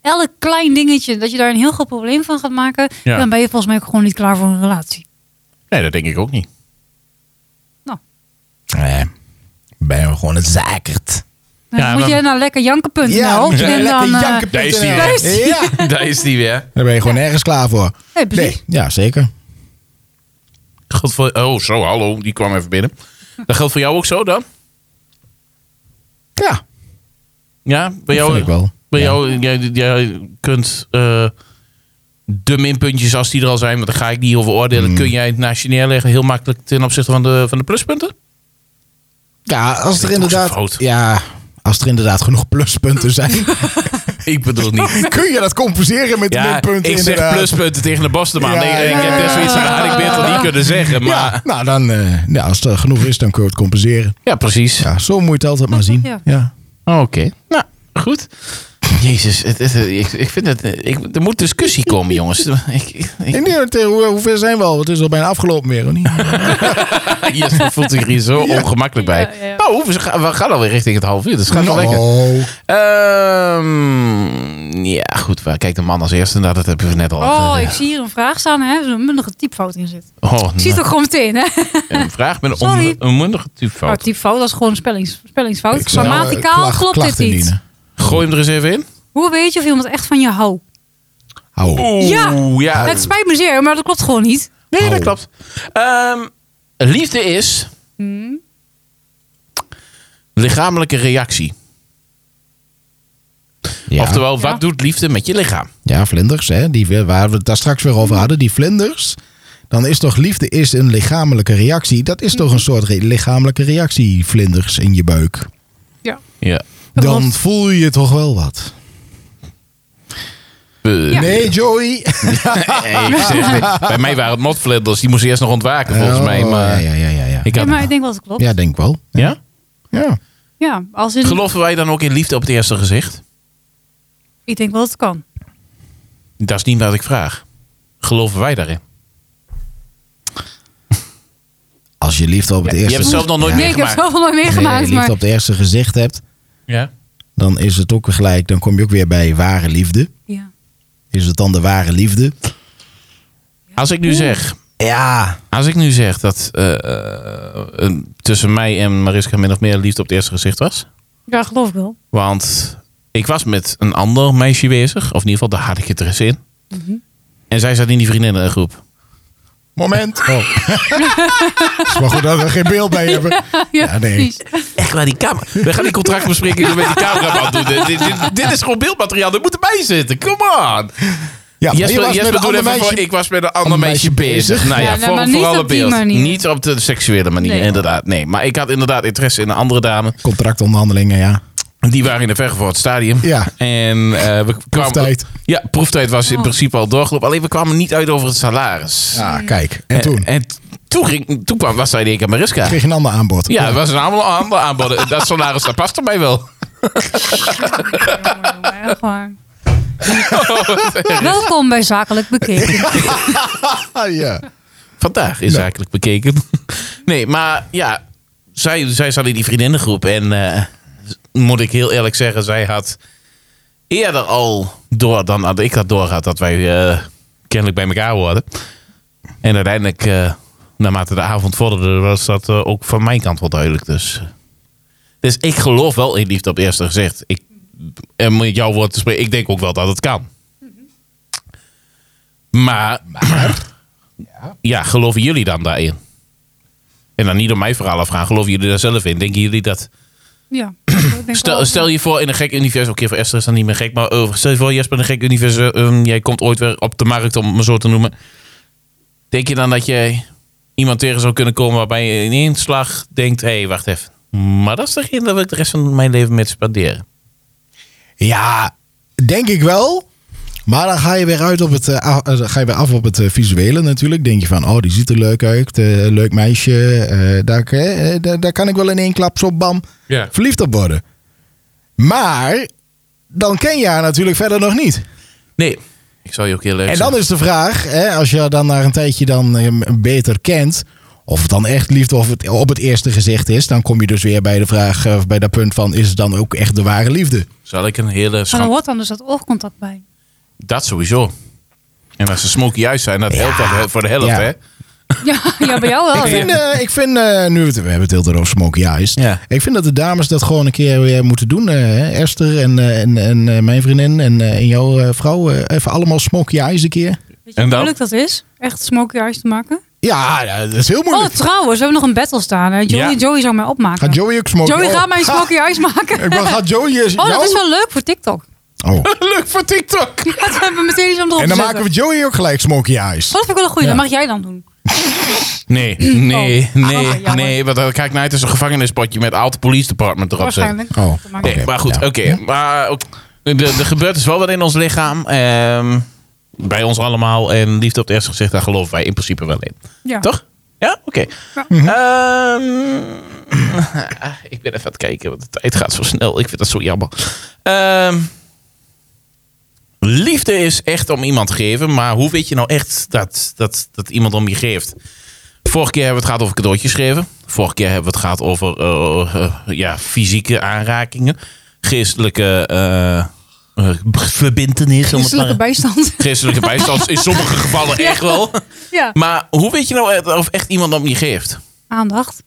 Speaker 1: elk klein dingetje... dat je daar een heel groot probleem van gaat maken...
Speaker 3: Ja.
Speaker 1: dan ben je volgens mij ook gewoon niet klaar voor een relatie.
Speaker 3: Nee, dat denk ik ook niet.
Speaker 2: Nee. Eh, Ben je gewoon het zakert.
Speaker 1: Dan
Speaker 3: Ja,
Speaker 1: moet
Speaker 3: maar-
Speaker 1: jij naar lekker janken.nl.
Speaker 2: we zijn
Speaker 1: en dan, eh,
Speaker 3: Daar is die
Speaker 2: janken.nl.
Speaker 3: weer.
Speaker 1: Daar is die.
Speaker 2: Ja.
Speaker 3: Daar is die weer.
Speaker 2: Daar ben je gewoon nergens klaar voor.
Speaker 1: Nee, precies.
Speaker 2: Ja, zeker.
Speaker 3: Geldt voor, oh, zo, hallo. Die kwam even binnen. Dat geldt voor jou ook zo dan?
Speaker 2: Ja.
Speaker 3: Ja, bij jou,
Speaker 2: vind ik wel.
Speaker 3: Bij
Speaker 2: Ja.
Speaker 3: jou, jij, jij kunt eh, de minpuntjes, als die er al zijn, want daar ga ik niet over oordelen, kun jij het naast je neerleggen heel makkelijk ten opzichte van de, van de pluspunten?
Speaker 2: Ja, als er
Speaker 3: is toch zo
Speaker 2: inderdaad...
Speaker 3: groot.
Speaker 2: Ja, als er inderdaad genoeg pluspunten zijn...
Speaker 3: Ik bedoel niet.
Speaker 2: kun je dat compenseren met
Speaker 3: Ja,
Speaker 2: minpunten
Speaker 3: ik zeg
Speaker 2: inderdaad.
Speaker 3: pluspunten tegen de Basteman.
Speaker 2: Ja,
Speaker 3: nee, ik
Speaker 2: ja,
Speaker 3: heb best zoiets van,
Speaker 1: ja.
Speaker 3: had ik beter niet kunnen zeggen. Maar
Speaker 2: Ja,
Speaker 3: ja,
Speaker 2: nou dan, eh, ja, als er genoeg is, dan kun je het compenseren.
Speaker 3: precies.
Speaker 2: Ja, zo moet je het altijd maar zien.
Speaker 1: Ja.
Speaker 2: Ja.
Speaker 3: Oké. Nou, goed. Jezus, het, het- ik, ik vind het, ik, er moet discussie komen, jongens. Ik, ik,
Speaker 2: En nu, tegen hoe, hoe ver zijn we al? Het is al bijna afgelopen weer, of niet?
Speaker 3: Jesper voelt zich hier zo ongemakkelijk bij.
Speaker 1: Ja, ja.
Speaker 3: Nou, we gaan, we gaan alweer richting het half uur. Dus het gaat wel lekker.
Speaker 2: Nou,
Speaker 3: Ehm, ja, goed. Waar kijkt de man als eerste naar? Dat hebben we net al.
Speaker 1: Oh,
Speaker 3: eh,
Speaker 1: ik zie hier een vraag staan. hè, Er is een mundige typfout in zit.
Speaker 3: oh,
Speaker 1: Ik zie het ook gewoon meteen. Hè?
Speaker 3: nou, een vraag met een,
Speaker 1: Sorry.
Speaker 3: on, een mondige
Speaker 1: Nou,
Speaker 3: typfout.
Speaker 1: typfout, dat is gewoon een spellings, spellingsfout.
Speaker 2: ik zou, eh,
Speaker 1: Grammaticaal
Speaker 2: klacht-
Speaker 1: klopt dit
Speaker 2: klachten
Speaker 1: niet.
Speaker 2: indienen.
Speaker 3: Gooi hem er eens even in.
Speaker 1: Hoe weet je of iemand echt van je houdt?
Speaker 2: Hou.
Speaker 3: Oeh,
Speaker 1: Ja.
Speaker 3: ja.
Speaker 1: Het spijt me zeer, maar dat klopt gewoon niet.
Speaker 3: Nee, dat
Speaker 2: Oh.
Speaker 1: Hmm.
Speaker 3: klopt. Ehm, liefde is Lichamelijke reactie.
Speaker 2: Ja.
Speaker 3: Oftewel, wat
Speaker 1: Ja.
Speaker 3: doet liefde met je lichaam?
Speaker 2: Ja, vlinders, hè, die, we- waar we het daar straks weer over hadden. Die vlinders, dan is toch liefde is een lichamelijke reactie. Dat is toch een soort re- lichamelijke reactie, vlinders in je buik.
Speaker 3: Ja.
Speaker 2: Dan
Speaker 1: Klopt.
Speaker 2: voel je toch wel wat.
Speaker 3: Eh,
Speaker 2: Nee, Joey.
Speaker 3: nee, ik zeg niet. Bij mij waren het motvlinders. Die moesten eerst nog ontwaken, volgens mij.
Speaker 2: Oh,
Speaker 3: Maar
Speaker 2: Ja, ja, ja. Ja,
Speaker 3: ik
Speaker 1: Ja,
Speaker 3: had...
Speaker 1: maar ik denk wel dat het klopt.
Speaker 2: ja
Speaker 1: Ja,
Speaker 2: denk wel.
Speaker 3: ja?
Speaker 2: Ja.
Speaker 1: als in,
Speaker 3: Geloven wij dan ook in liefde op het eerste gezicht?
Speaker 1: ik denk wel dat het kan.
Speaker 3: Dat is niet wat ik vraag. Geloven wij daarin?
Speaker 2: Als je liefde op het
Speaker 3: Ja, je
Speaker 2: eerste
Speaker 3: hebt het zelf nog nooit
Speaker 1: Nee, ik heb
Speaker 3: meegemaakt.
Speaker 1: zoveel nooit
Speaker 2: Nee,
Speaker 1: meegemaakt.
Speaker 2: liefde
Speaker 1: maar
Speaker 2: op het eerste gezicht hebt,
Speaker 3: Ja.
Speaker 2: dan is het ook weer gelijk. Dan kom je ook weer bij ware liefde.
Speaker 1: ja.
Speaker 2: Is het dan de ware liefde?
Speaker 3: Als ik nu zeg,
Speaker 2: Ja.
Speaker 3: als ik nu zeg dat eh, eh, een- tussen mij en Mariska min of meer liefde op het eerste gezicht was.
Speaker 1: ja, geloof ik wel.
Speaker 3: Want ik was met een ander meisje bezig. Of in ieder geval, daar had ik het er eens in.
Speaker 1: Mhm.
Speaker 3: En zij zat in die vriendinnengroep.
Speaker 2: Moment. Oh. is maar goed dat we geen beeld bij hebben.
Speaker 1: Ja,
Speaker 2: nee.
Speaker 1: precies.
Speaker 3: Echt waar, die camera. We gaan die contractbespreking met die cameraman doen. Dit, dit, dit- dit is gewoon beeldmateriaal. Er moet erbij zitten. Come on.
Speaker 2: Ja, maar
Speaker 3: Jesper,
Speaker 2: met
Speaker 3: Jesper,
Speaker 2: een
Speaker 3: doe
Speaker 2: ander
Speaker 3: even voor,
Speaker 2: meisje-
Speaker 3: ik was met een ander
Speaker 2: ander
Speaker 3: meisje
Speaker 2: meisje
Speaker 3: bezig.
Speaker 2: bezig.
Speaker 3: Nou ja,
Speaker 1: Ja, nee,
Speaker 3: voor,
Speaker 1: maar niet
Speaker 3: vooral
Speaker 1: op
Speaker 3: het
Speaker 1: die
Speaker 3: beeld.
Speaker 1: manier.
Speaker 3: Niet op de seksuele manier,
Speaker 1: Nee.
Speaker 3: inderdaad. Nee, maar ik had inderdaad interesse in een andere dame.
Speaker 2: Contractonderhandelingen, ja.
Speaker 3: Die waren in de verre voor het stadium.
Speaker 2: Ja.
Speaker 3: En eh, we kwamen...
Speaker 2: Proeftijd.
Speaker 3: Ja, proeftijd was in
Speaker 1: Oh.
Speaker 3: principe al doorgelopen. Alleen we kwamen niet uit over het salaris.
Speaker 2: Ja, kijk. En toen
Speaker 3: En toen, ging, toen kwam, was zij in één keer Mariska.
Speaker 2: kreeg je een ander aanbod.
Speaker 3: Ja, het was een aantal aantal aanbod. Dat salaris, dat paste mij wel.
Speaker 1: Jongen, jongen, echt waar. Welkom bij Zakelijk Bekeken.
Speaker 2: Ah, ja.
Speaker 3: Vandaag is
Speaker 2: Nee.
Speaker 3: eigenlijk bekeken. Nee, maar ja, zij, zij zat in die vriendinnengroep. En eh, moet ik heel eerlijk zeggen, zij had eerder al door dan dat ik dat door had. Dat wij eh, kennelijk bij elkaar worden. En uiteindelijk, eh, naarmate de avond vorderde, was dat eh, ook van mijn kant wel duidelijk. Dus. dus ik geloof wel in liefde op het eerste gezicht. Ik, en met jouw woord te spreken, ik denk ook wel dat het kan. Maar, ja, geloven jullie dan daarin? En dan niet om mijn verhaal afgaan. Geloven jullie daar zelf in? Denken jullie dat...
Speaker 1: Ja, ik denk wel.
Speaker 3: Stel, stel je voor in een gek universum. Oké, voor Esther is dat niet meer gek. Maar eh, stel je voor, Jesper, in een gek universum. ehm, jij komt ooit weer op de markt, om het maar zo te noemen. Denk je dan dat jij iemand tegen zou kunnen komen waarbij je in één slag denkt... Hé, hey, wacht even. Maar dat is degene daar wil ik de rest van mijn leven mee spenderen.
Speaker 2: Ja, denk ik wel. Maar dan ga je weer uit op het, eh, af- eh, ga je weer af op het eh, visuele natuurlijk. Denk je van, oh, die ziet er leuk uit. eh, leuk meisje. eh, daar, eh, daar, daar kan ik wel in één klap zo bam
Speaker 3: Ja.
Speaker 2: verliefd op worden. Maar dan ken je haar natuurlijk verder nog niet.
Speaker 3: Nee, ik zal je ook heel erg
Speaker 2: En dan is de vraag, hè, als je haar dan na een tijdje dan eh, beter kent, of het dan echt liefde of het op het eerste gezicht is, dan kom je dus weer bij de vraag, eh, bij dat punt van, is het dan ook echt de ware liefde?
Speaker 3: Zal ik een hele...
Speaker 1: Maar
Speaker 3: schan-
Speaker 1: dan hoort dan dus dat oogcontact bij.
Speaker 3: Dat sowieso. En als ze smoky eyes zijn, dat helpt dat voor de helft,
Speaker 2: Ja.
Speaker 3: hè?
Speaker 1: Ja, ja bij jou wel.
Speaker 2: Ik vind,
Speaker 1: ja.
Speaker 2: eh, ik vind eh, nu we het, we hebben het heel over Smoky Eyes.
Speaker 3: Ja.
Speaker 2: Ik vind dat de dames dat gewoon een keer weer moeten doen. eh, Esther en, eh, en, en eh, mijn vriendin en, eh, en jouw eh, vrouw. eh, even allemaal Smoky Eyes een keer.
Speaker 1: Weet je hoe
Speaker 3: En dan?
Speaker 1: moeilijk dat is? Echt smoky eyes te maken?
Speaker 2: Ja, ja, dat is heel
Speaker 1: Oh,
Speaker 2: moeilijk.
Speaker 1: trouwens, we hebben nog een battle staan. hè. Joey,
Speaker 3: Ja.
Speaker 1: Joey zou mij opmaken.
Speaker 2: Gaat Joey ook Smoky
Speaker 1: Joey
Speaker 2: oh,
Speaker 1: gaat mij
Speaker 2: ha,
Speaker 1: smoky eyes maken.
Speaker 2: Ik ben, gaat Joey eens
Speaker 1: Oh, dat
Speaker 2: jou?
Speaker 1: is wel leuk voor TikTok.
Speaker 2: Oh.
Speaker 3: Leuk voor TikTok!
Speaker 1: Ja, dat hebben we meteen iets om erop
Speaker 2: En dan
Speaker 1: te
Speaker 2: maken we
Speaker 1: zetten.
Speaker 2: Joey ook gelijk Smoky Eyes.
Speaker 1: Oh, dat vind ik wel een goeie.
Speaker 2: Ja.
Speaker 1: Dat mag jij dan doen.
Speaker 3: Nee, nee,
Speaker 1: Oh,
Speaker 3: nee,
Speaker 1: jammer, jammer.
Speaker 3: nee. Want dan kijk ik naar uit als een gevangenispotje met Aalt Police Department erop zetten.
Speaker 1: Waarschijnlijk.
Speaker 2: Oh.
Speaker 1: Dat maakt
Speaker 3: Nee,
Speaker 1: niet uit.
Speaker 3: maar goed,
Speaker 2: Ja.
Speaker 3: oké. Maar ook, er, er gebeurt dus wel wat in ons lichaam. ehm, bij ons allemaal. En liefde op het eerste gezicht, daar geloven wij in principe wel in.
Speaker 1: Ja.
Speaker 3: Toch? Ja? Oké.
Speaker 1: Ja.
Speaker 3: Ehm, ah, ik ben even aan het kijken, want de tijd gaat zo snel. Ik vind dat zo jammer. Ehm, liefde is echt om iemand geven, maar hoe weet je nou echt dat, dat, dat iemand om je geeft? Vorige keer hebben we het gehad over cadeautjes geven. Vorige keer hebben we het gehad over eh, eh, ja, fysieke aanrakingen. Geestelijke eh eh, verbintenis. om het
Speaker 1: Christelijke
Speaker 3: maar-
Speaker 1: bijstand.
Speaker 3: Geestelijke bijstand in sommige gevallen echt wel.
Speaker 1: ja.
Speaker 3: Maar hoe weet je nou of echt iemand om je geeft?
Speaker 1: Aandacht.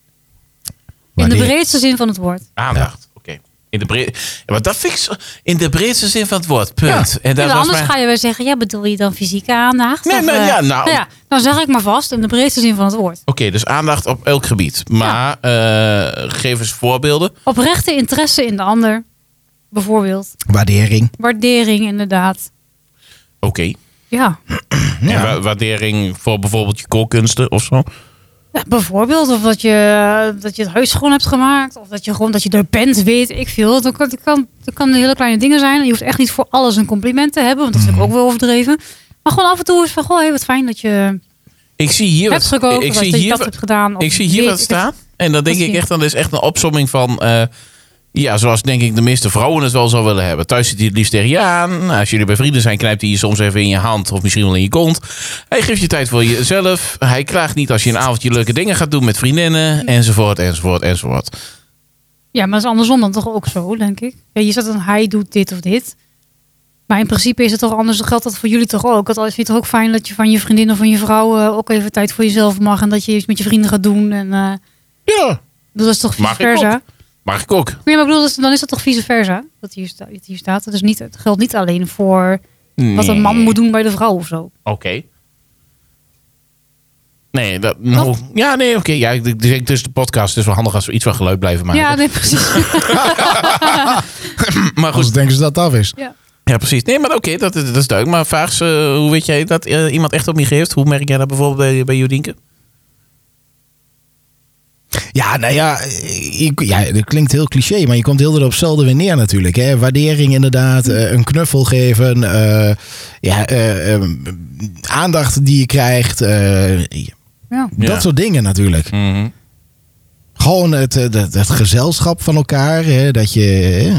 Speaker 1: In
Speaker 2: Maar
Speaker 1: de
Speaker 2: die-
Speaker 1: breedste zin van het woord.
Speaker 3: Aandacht. Oké. In In de Bre- maar dat vind ik zo- in de breedste zin van het woord. Punt. En dat
Speaker 1: Ja,
Speaker 3: was
Speaker 1: anders
Speaker 3: mijn-
Speaker 1: ga je weer zeggen, ja, bedoel je dan fysieke aandacht?
Speaker 3: Nee,
Speaker 1: Of,
Speaker 3: nee,
Speaker 1: eh,
Speaker 3: ja, nou.
Speaker 1: ja, dan zeg ik maar vast in de breedste zin van het woord.
Speaker 3: Oké, dus aandacht op elk gebied. Maar eh, geef eens voorbeelden.
Speaker 1: Oprechte interesse in de ander, bijvoorbeeld.
Speaker 2: Waardering.
Speaker 1: Waardering, inderdaad.
Speaker 3: Oké.
Speaker 1: Ja,
Speaker 3: En wa- waardering voor bijvoorbeeld je koolkunsten of zo.
Speaker 1: Ja, bijvoorbeeld. Of dat je, dat je het huis schoon hebt gemaakt. Of dat je gewoon dat je er bent, weet ik veel. Dat kan, dat kan, dat kan hele kleine dingen zijn. Je hoeft echt niet voor alles een compliment te hebben. Want dat vind ik ook
Speaker 3: Mhm.
Speaker 1: wel overdreven. Maar gewoon af en toe is van, goh, hé, wat fijn dat je
Speaker 3: Ik zie hier
Speaker 1: hebt gekookt.
Speaker 3: ik
Speaker 1: of
Speaker 3: zie
Speaker 1: dat je
Speaker 3: hier
Speaker 1: dat
Speaker 3: wat-
Speaker 1: hebt gedaan. of
Speaker 3: Ik zie hier
Speaker 1: weet
Speaker 3: wat
Speaker 1: ik
Speaker 3: staan. En dan denk
Speaker 1: Wat
Speaker 3: ik
Speaker 1: zie je?
Speaker 3: echt, dan is echt een opsomming van... eh, ja, zoals denk ik de meeste vrouwen het wel zou willen hebben. Thuis zit hij het liefst tegen je aan. Nou, als jullie bij vrienden zijn, knijpt hij je soms even in je hand. Of misschien wel in je kont. Hij geeft je tijd voor jezelf. Hij klaagt niet als je een avondje leuke dingen gaat doen met vriendinnen.
Speaker 1: Hmm.
Speaker 3: Enzovoort, enzovoort, enzovoort.
Speaker 1: Ja, maar dat is andersom dan toch ook zo, denk ik. Ja, je zegt dan hij doet dit of dit. Maar in principe is het toch anders, geldt dat voor jullie toch ook? Dat is het ook fijn dat je van je vriendin of van je vrouw eh, ook even tijd voor jezelf mag. En dat je iets met je vrienden gaat doen. En eh,
Speaker 3: Ja,
Speaker 1: dat is toch vice
Speaker 3: Mag ik ook.
Speaker 1: versa?
Speaker 3: mag ik ook.
Speaker 1: Nee, maar ik bedoel, dat is- dan is dat toch vice versa? Wat hier, sta- wat hier staat. Dat is niet, het geldt niet alleen voor wat een man
Speaker 3: Nee.
Speaker 1: moet doen bij de vrouw of zo.
Speaker 3: Oké. Nee, dat, nou, ja, nee, oké. Ja, ik ik denk tussen de podcast het is wel handig als we iets van geluid blijven maken.
Speaker 1: ja, nee, precies.
Speaker 3: maar goed,
Speaker 2: Anders denken ze dat het af is.
Speaker 1: ja.
Speaker 3: Ja, precies. Nee, maar oké, dat, is- dat is duidelijk. Maar vraag ze, eh, hoe weet jij dat eh, iemand echt op je geeft? Hoe merk jij dat bijvoorbeeld bij, bij Jodinke?
Speaker 2: Ja, nou ja, ik, ja, dat klinkt heel cliché, maar je komt heel erg op hetzelfde weer neer natuurlijk. Hè? Waardering inderdaad, eh, een knuffel geven, eh, ja, eh, eh, aandacht die je krijgt, eh,
Speaker 1: Ja.
Speaker 3: Ja.
Speaker 2: dat soort dingen natuurlijk.
Speaker 3: Mhm.
Speaker 2: Gewoon het, eh, dat- het gezelschap van elkaar, hè? dat je eh,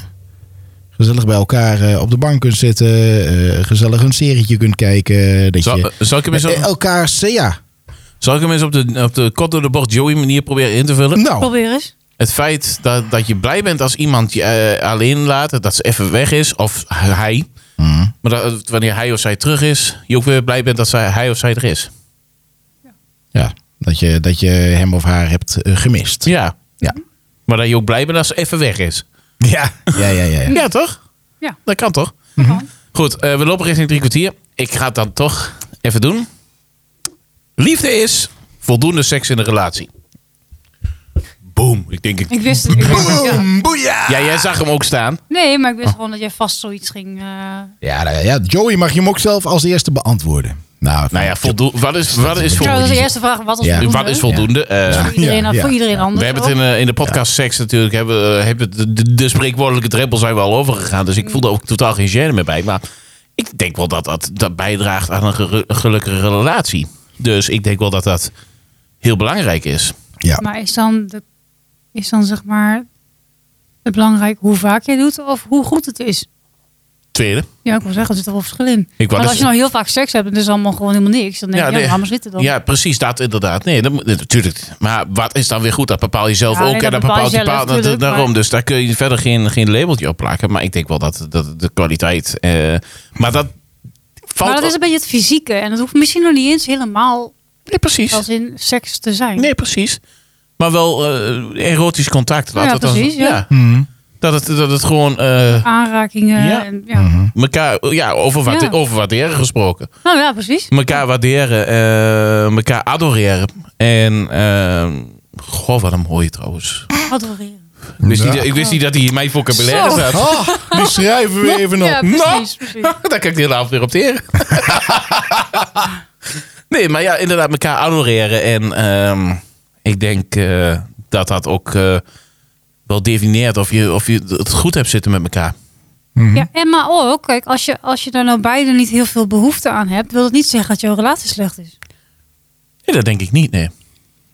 Speaker 2: gezellig bij elkaar eh, op de bank kunt zitten, eh, gezellig een serietje kunt kijken, dat
Speaker 3: Zal,
Speaker 2: je
Speaker 3: eh, zal ik hem eens,
Speaker 2: eh,
Speaker 3: op,
Speaker 2: elkaars, eh, ja,
Speaker 3: zal ik hem eens op, de, op de kort door de bocht Joey manier proberen in te vullen?
Speaker 2: nou,
Speaker 1: Probeer eens.
Speaker 3: Het feit dat, dat je blij bent als iemand je eh, alleen laat, dat ze even weg is, of hij.
Speaker 2: Mm.
Speaker 3: Maar dat, eh, wanneer hij of zij terug is, je ook weer blij bent dat zij, hij of zij er is.
Speaker 2: ja, dat je, dat je hem of haar hebt eh, gemist.
Speaker 3: Ja.
Speaker 2: Ja.
Speaker 3: Maar dat je ook blij bent als ze even weg is.
Speaker 2: Ja, ja, ja, ja.
Speaker 3: Ja, toch?
Speaker 1: Ja.
Speaker 3: Dat kan toch?
Speaker 1: Dat kan.
Speaker 3: Goed, eh, we lopen richting drie kwartier. Ik ga het dan toch even doen. Liefde is voldoende seks in een relatie. Boom. Ik denk ik...
Speaker 1: Ik wist het. ik wist het, ja.
Speaker 3: Ja, jij zag hem ook staan.
Speaker 1: Nee, maar ik
Speaker 3: Oh.
Speaker 1: wist gewoon dat jij vast zoiets ging... eh,
Speaker 2: Ja, nou ja, Joey mag je hem ook zelf als eerste beantwoorden. Nou,
Speaker 3: Nou ja, voldo- wat is, wat is
Speaker 1: Trouwens,
Speaker 3: voldoende?
Speaker 1: de eerste vraag. Wat was
Speaker 2: Ja.
Speaker 1: voldoende?
Speaker 3: Wat is voldoende? Eh,
Speaker 1: Voor iedereen,
Speaker 2: Ja, ja.
Speaker 1: voor iedereen anders.
Speaker 3: we hebben
Speaker 1: ook.
Speaker 3: het in, eh, in de podcast seks natuurlijk. Hebben, we- hebben de, de, de spreekwoordelijke drempel zijn we al overgegaan. Dus ik voel er ook totaal geen gêne meer bij. Maar ik denk wel dat dat, dat bijdraagt aan een geru- gelukkige relatie. Dus ik denk wel dat dat heel belangrijk is.
Speaker 2: ja.
Speaker 1: Maar is dan, de, is dan zeg maar het belangrijk hoe vaak je doet of hoe goed het is?
Speaker 3: Tweede.
Speaker 1: Ja, ik wil zeggen, er zit toch wel verschil in.
Speaker 3: Ik wou
Speaker 1: maar
Speaker 3: dus-
Speaker 1: als je nou heel vaak seks hebt en het is allemaal gewoon helemaal niks, dan denk
Speaker 3: Ja,
Speaker 1: je, ja,
Speaker 3: nee.
Speaker 1: waarom zitten dan?
Speaker 3: Ja, precies, dat inderdaad. Nee, dat moet- natuurlijk. Maar wat is dan weer goed? Dat bepaal je zelf
Speaker 1: Ja,
Speaker 3: ook.
Speaker 1: nee,
Speaker 3: en
Speaker 1: dat
Speaker 3: dat
Speaker 1: bepaal
Speaker 3: bepaalt
Speaker 1: je
Speaker 3: je
Speaker 1: zelf,
Speaker 3: partner da-
Speaker 1: tuurlijk,
Speaker 3: daarom.
Speaker 1: maar-
Speaker 3: Dus daar kun je verder geen, geen labeltje op plakken. Maar ik denk wel dat, dat de kwaliteit. eh, maar dat valt.
Speaker 1: maar dat is een beetje het fysieke en dat hoeft misschien nog niet eens helemaal
Speaker 3: nee, precies.
Speaker 1: als in seks te zijn.
Speaker 3: Nee, precies. Maar wel eh, erotisch contact. Laat
Speaker 1: Ja,
Speaker 3: dat dan-
Speaker 1: precies, ja.
Speaker 2: Mhm.
Speaker 3: dat, het, dat het gewoon. eh
Speaker 1: Aanrakingen.
Speaker 3: Ja.
Speaker 1: En, ja.
Speaker 2: Mhm.
Speaker 3: elkaar. Ja, over, waarde-
Speaker 1: Ja.
Speaker 3: over waarderen gesproken.
Speaker 1: Nou ja, precies.
Speaker 3: Mekaar waarderen. eh elkaar adoreren. En. eh goh, wat een mooie trouwens.
Speaker 2: Mhm.
Speaker 1: Adoreren.
Speaker 3: Ik wist,
Speaker 2: Ja.
Speaker 3: niet, ik wist niet dat hij in mijn vocabulaire
Speaker 1: Zo.
Speaker 3: zat. Nou,
Speaker 2: Ah, die schrijven we even Nou. op.
Speaker 1: Ja, precies. precies.
Speaker 3: Daar kan ik de hele avond weer op teren. nee, maar ja, inderdaad, elkaar adoreren. En ehm, ik denk eh, dat dat ook eh, wel definieert of je, of je het goed hebt zitten met elkaar.
Speaker 2: Mhm.
Speaker 1: Ja, en maar ook, kijk, als je, als je daar nou beide niet heel veel behoefte aan hebt, wil dat niet zeggen dat jouw relatie slecht is.
Speaker 3: Nee, dat denk ik niet, nee.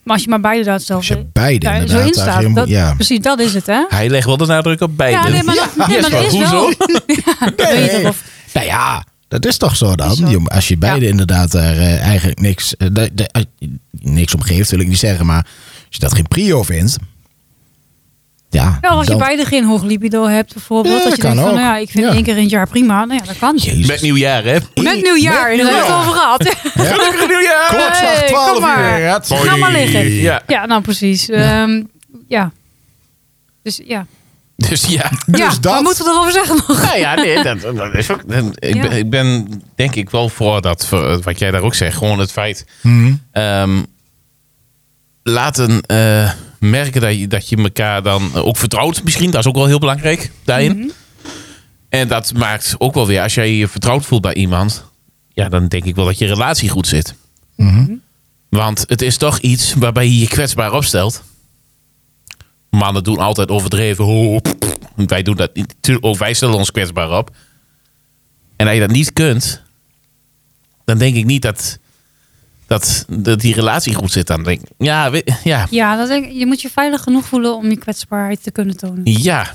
Speaker 1: Maar als je maar beide daar
Speaker 2: Als je
Speaker 1: hetzelfde
Speaker 2: beide
Speaker 1: daar zo
Speaker 2: inderdaad
Speaker 1: in
Speaker 2: daar
Speaker 1: staat.
Speaker 2: geen-
Speaker 1: dat,
Speaker 2: ja.
Speaker 1: Precies, dat is het, hè?
Speaker 3: Hij legt wel de nadruk op beide.
Speaker 1: Ja, nee, maar, dat- nee, maar dat is wel.
Speaker 3: Hoezo?
Speaker 1: Dat weet ik of-
Speaker 2: Nou ja, dat is toch zo dan?
Speaker 1: Is zo.
Speaker 2: Jongen, Als je beide
Speaker 1: Ja.
Speaker 2: inderdaad daar eh, eigenlijk niks, eh, da- da- eh, niks om geeft, wil ik niet zeggen. Maar als je dat geen prio vindt, ja.
Speaker 1: Ja, als je
Speaker 2: dan-
Speaker 1: beide geen hoog libido hebt, bijvoorbeeld.
Speaker 2: Ja,
Speaker 1: dat
Speaker 2: dat
Speaker 1: je
Speaker 2: kan
Speaker 1: denkt van,
Speaker 2: ook.
Speaker 1: nou ja, ik vind
Speaker 2: Ja.
Speaker 1: één keer in het jaar prima. Nou ja, dat kan.
Speaker 2: Jezus.
Speaker 3: Met nieuwjaar, hè?
Speaker 1: Met nieuwjaar, en daar hebben we het over gehad.
Speaker 3: Gelukkig nieuwjaar!
Speaker 2: Klokslag
Speaker 1: Hey,
Speaker 2: 12
Speaker 1: kom maar.
Speaker 2: uur. ja, het-
Speaker 1: Ga maar liggen.
Speaker 3: Ja.
Speaker 1: Ja, nou precies. Ehm, ja. Dus ja.
Speaker 3: Dus ja.
Speaker 1: ja,
Speaker 2: dat-
Speaker 1: wat moeten we erover zeggen nog?
Speaker 3: Nou ja, nee, dat, dat is ook. dat- ik,
Speaker 1: Ja.
Speaker 3: ben, ik ben denk ik wel voor dat, voor eh, wat jij daar ook zegt. Gewoon het feit. ehm, laten eh, merken dat je, dat je elkaar dan ook vertrouwt, misschien. Dat is ook wel heel belangrijk daarin. En dat maakt ook wel weer, als jij je vertrouwd voelt bij iemand, ja, dan denk ik wel dat je relatie goed zit. Want het is toch iets waarbij je je kwetsbaar opstelt. Mannen doen altijd overdreven. "Oh, pff, pff." wij doen dat niet. Tu- Ook wij stellen ons kwetsbaar op. En als je dat niet kunt, dan denk ik niet dat, dat, dat die relatie goed zit. Dan denk ik, ja, we- ja,
Speaker 1: Ja, dat denk ik, je moet je veilig genoeg voelen om je kwetsbaarheid te kunnen tonen.
Speaker 3: ja.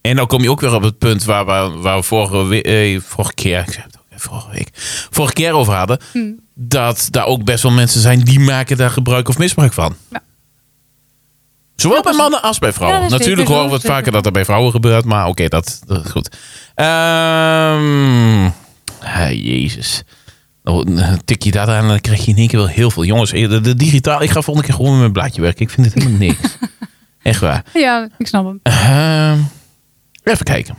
Speaker 3: En dan kom je ook weer op het punt waar we, waar we vorige, we- eh, vorige keer, ik zei het ook, eh, vorige week, vorige keer over hadden.
Speaker 1: Hmm.
Speaker 3: Dat daar ook best wel mensen zijn die maken daar gebruik of misbruik van.
Speaker 1: Ja.
Speaker 3: Zowel bij mannen als bij vrouwen.
Speaker 1: Ja, dat is
Speaker 3: Natuurlijk
Speaker 1: zeker
Speaker 3: horen we
Speaker 1: zo,
Speaker 3: het
Speaker 1: zeker
Speaker 3: vaker
Speaker 1: zo.
Speaker 3: dat dat bij vrouwen gebeurt, maar oké, dat, dat is goed. Ehm, ah, jezus. Nou, eh, tik je dat aan en dan krijg je in één keer wel heel veel. Jongens, eh, de, de digitaal, ik ga volgende keer gewoon met mijn blaadje werken. Ik vind het helemaal niks. Echt waar.
Speaker 1: Ja, ik snap hem.
Speaker 3: Ehm, even kijken.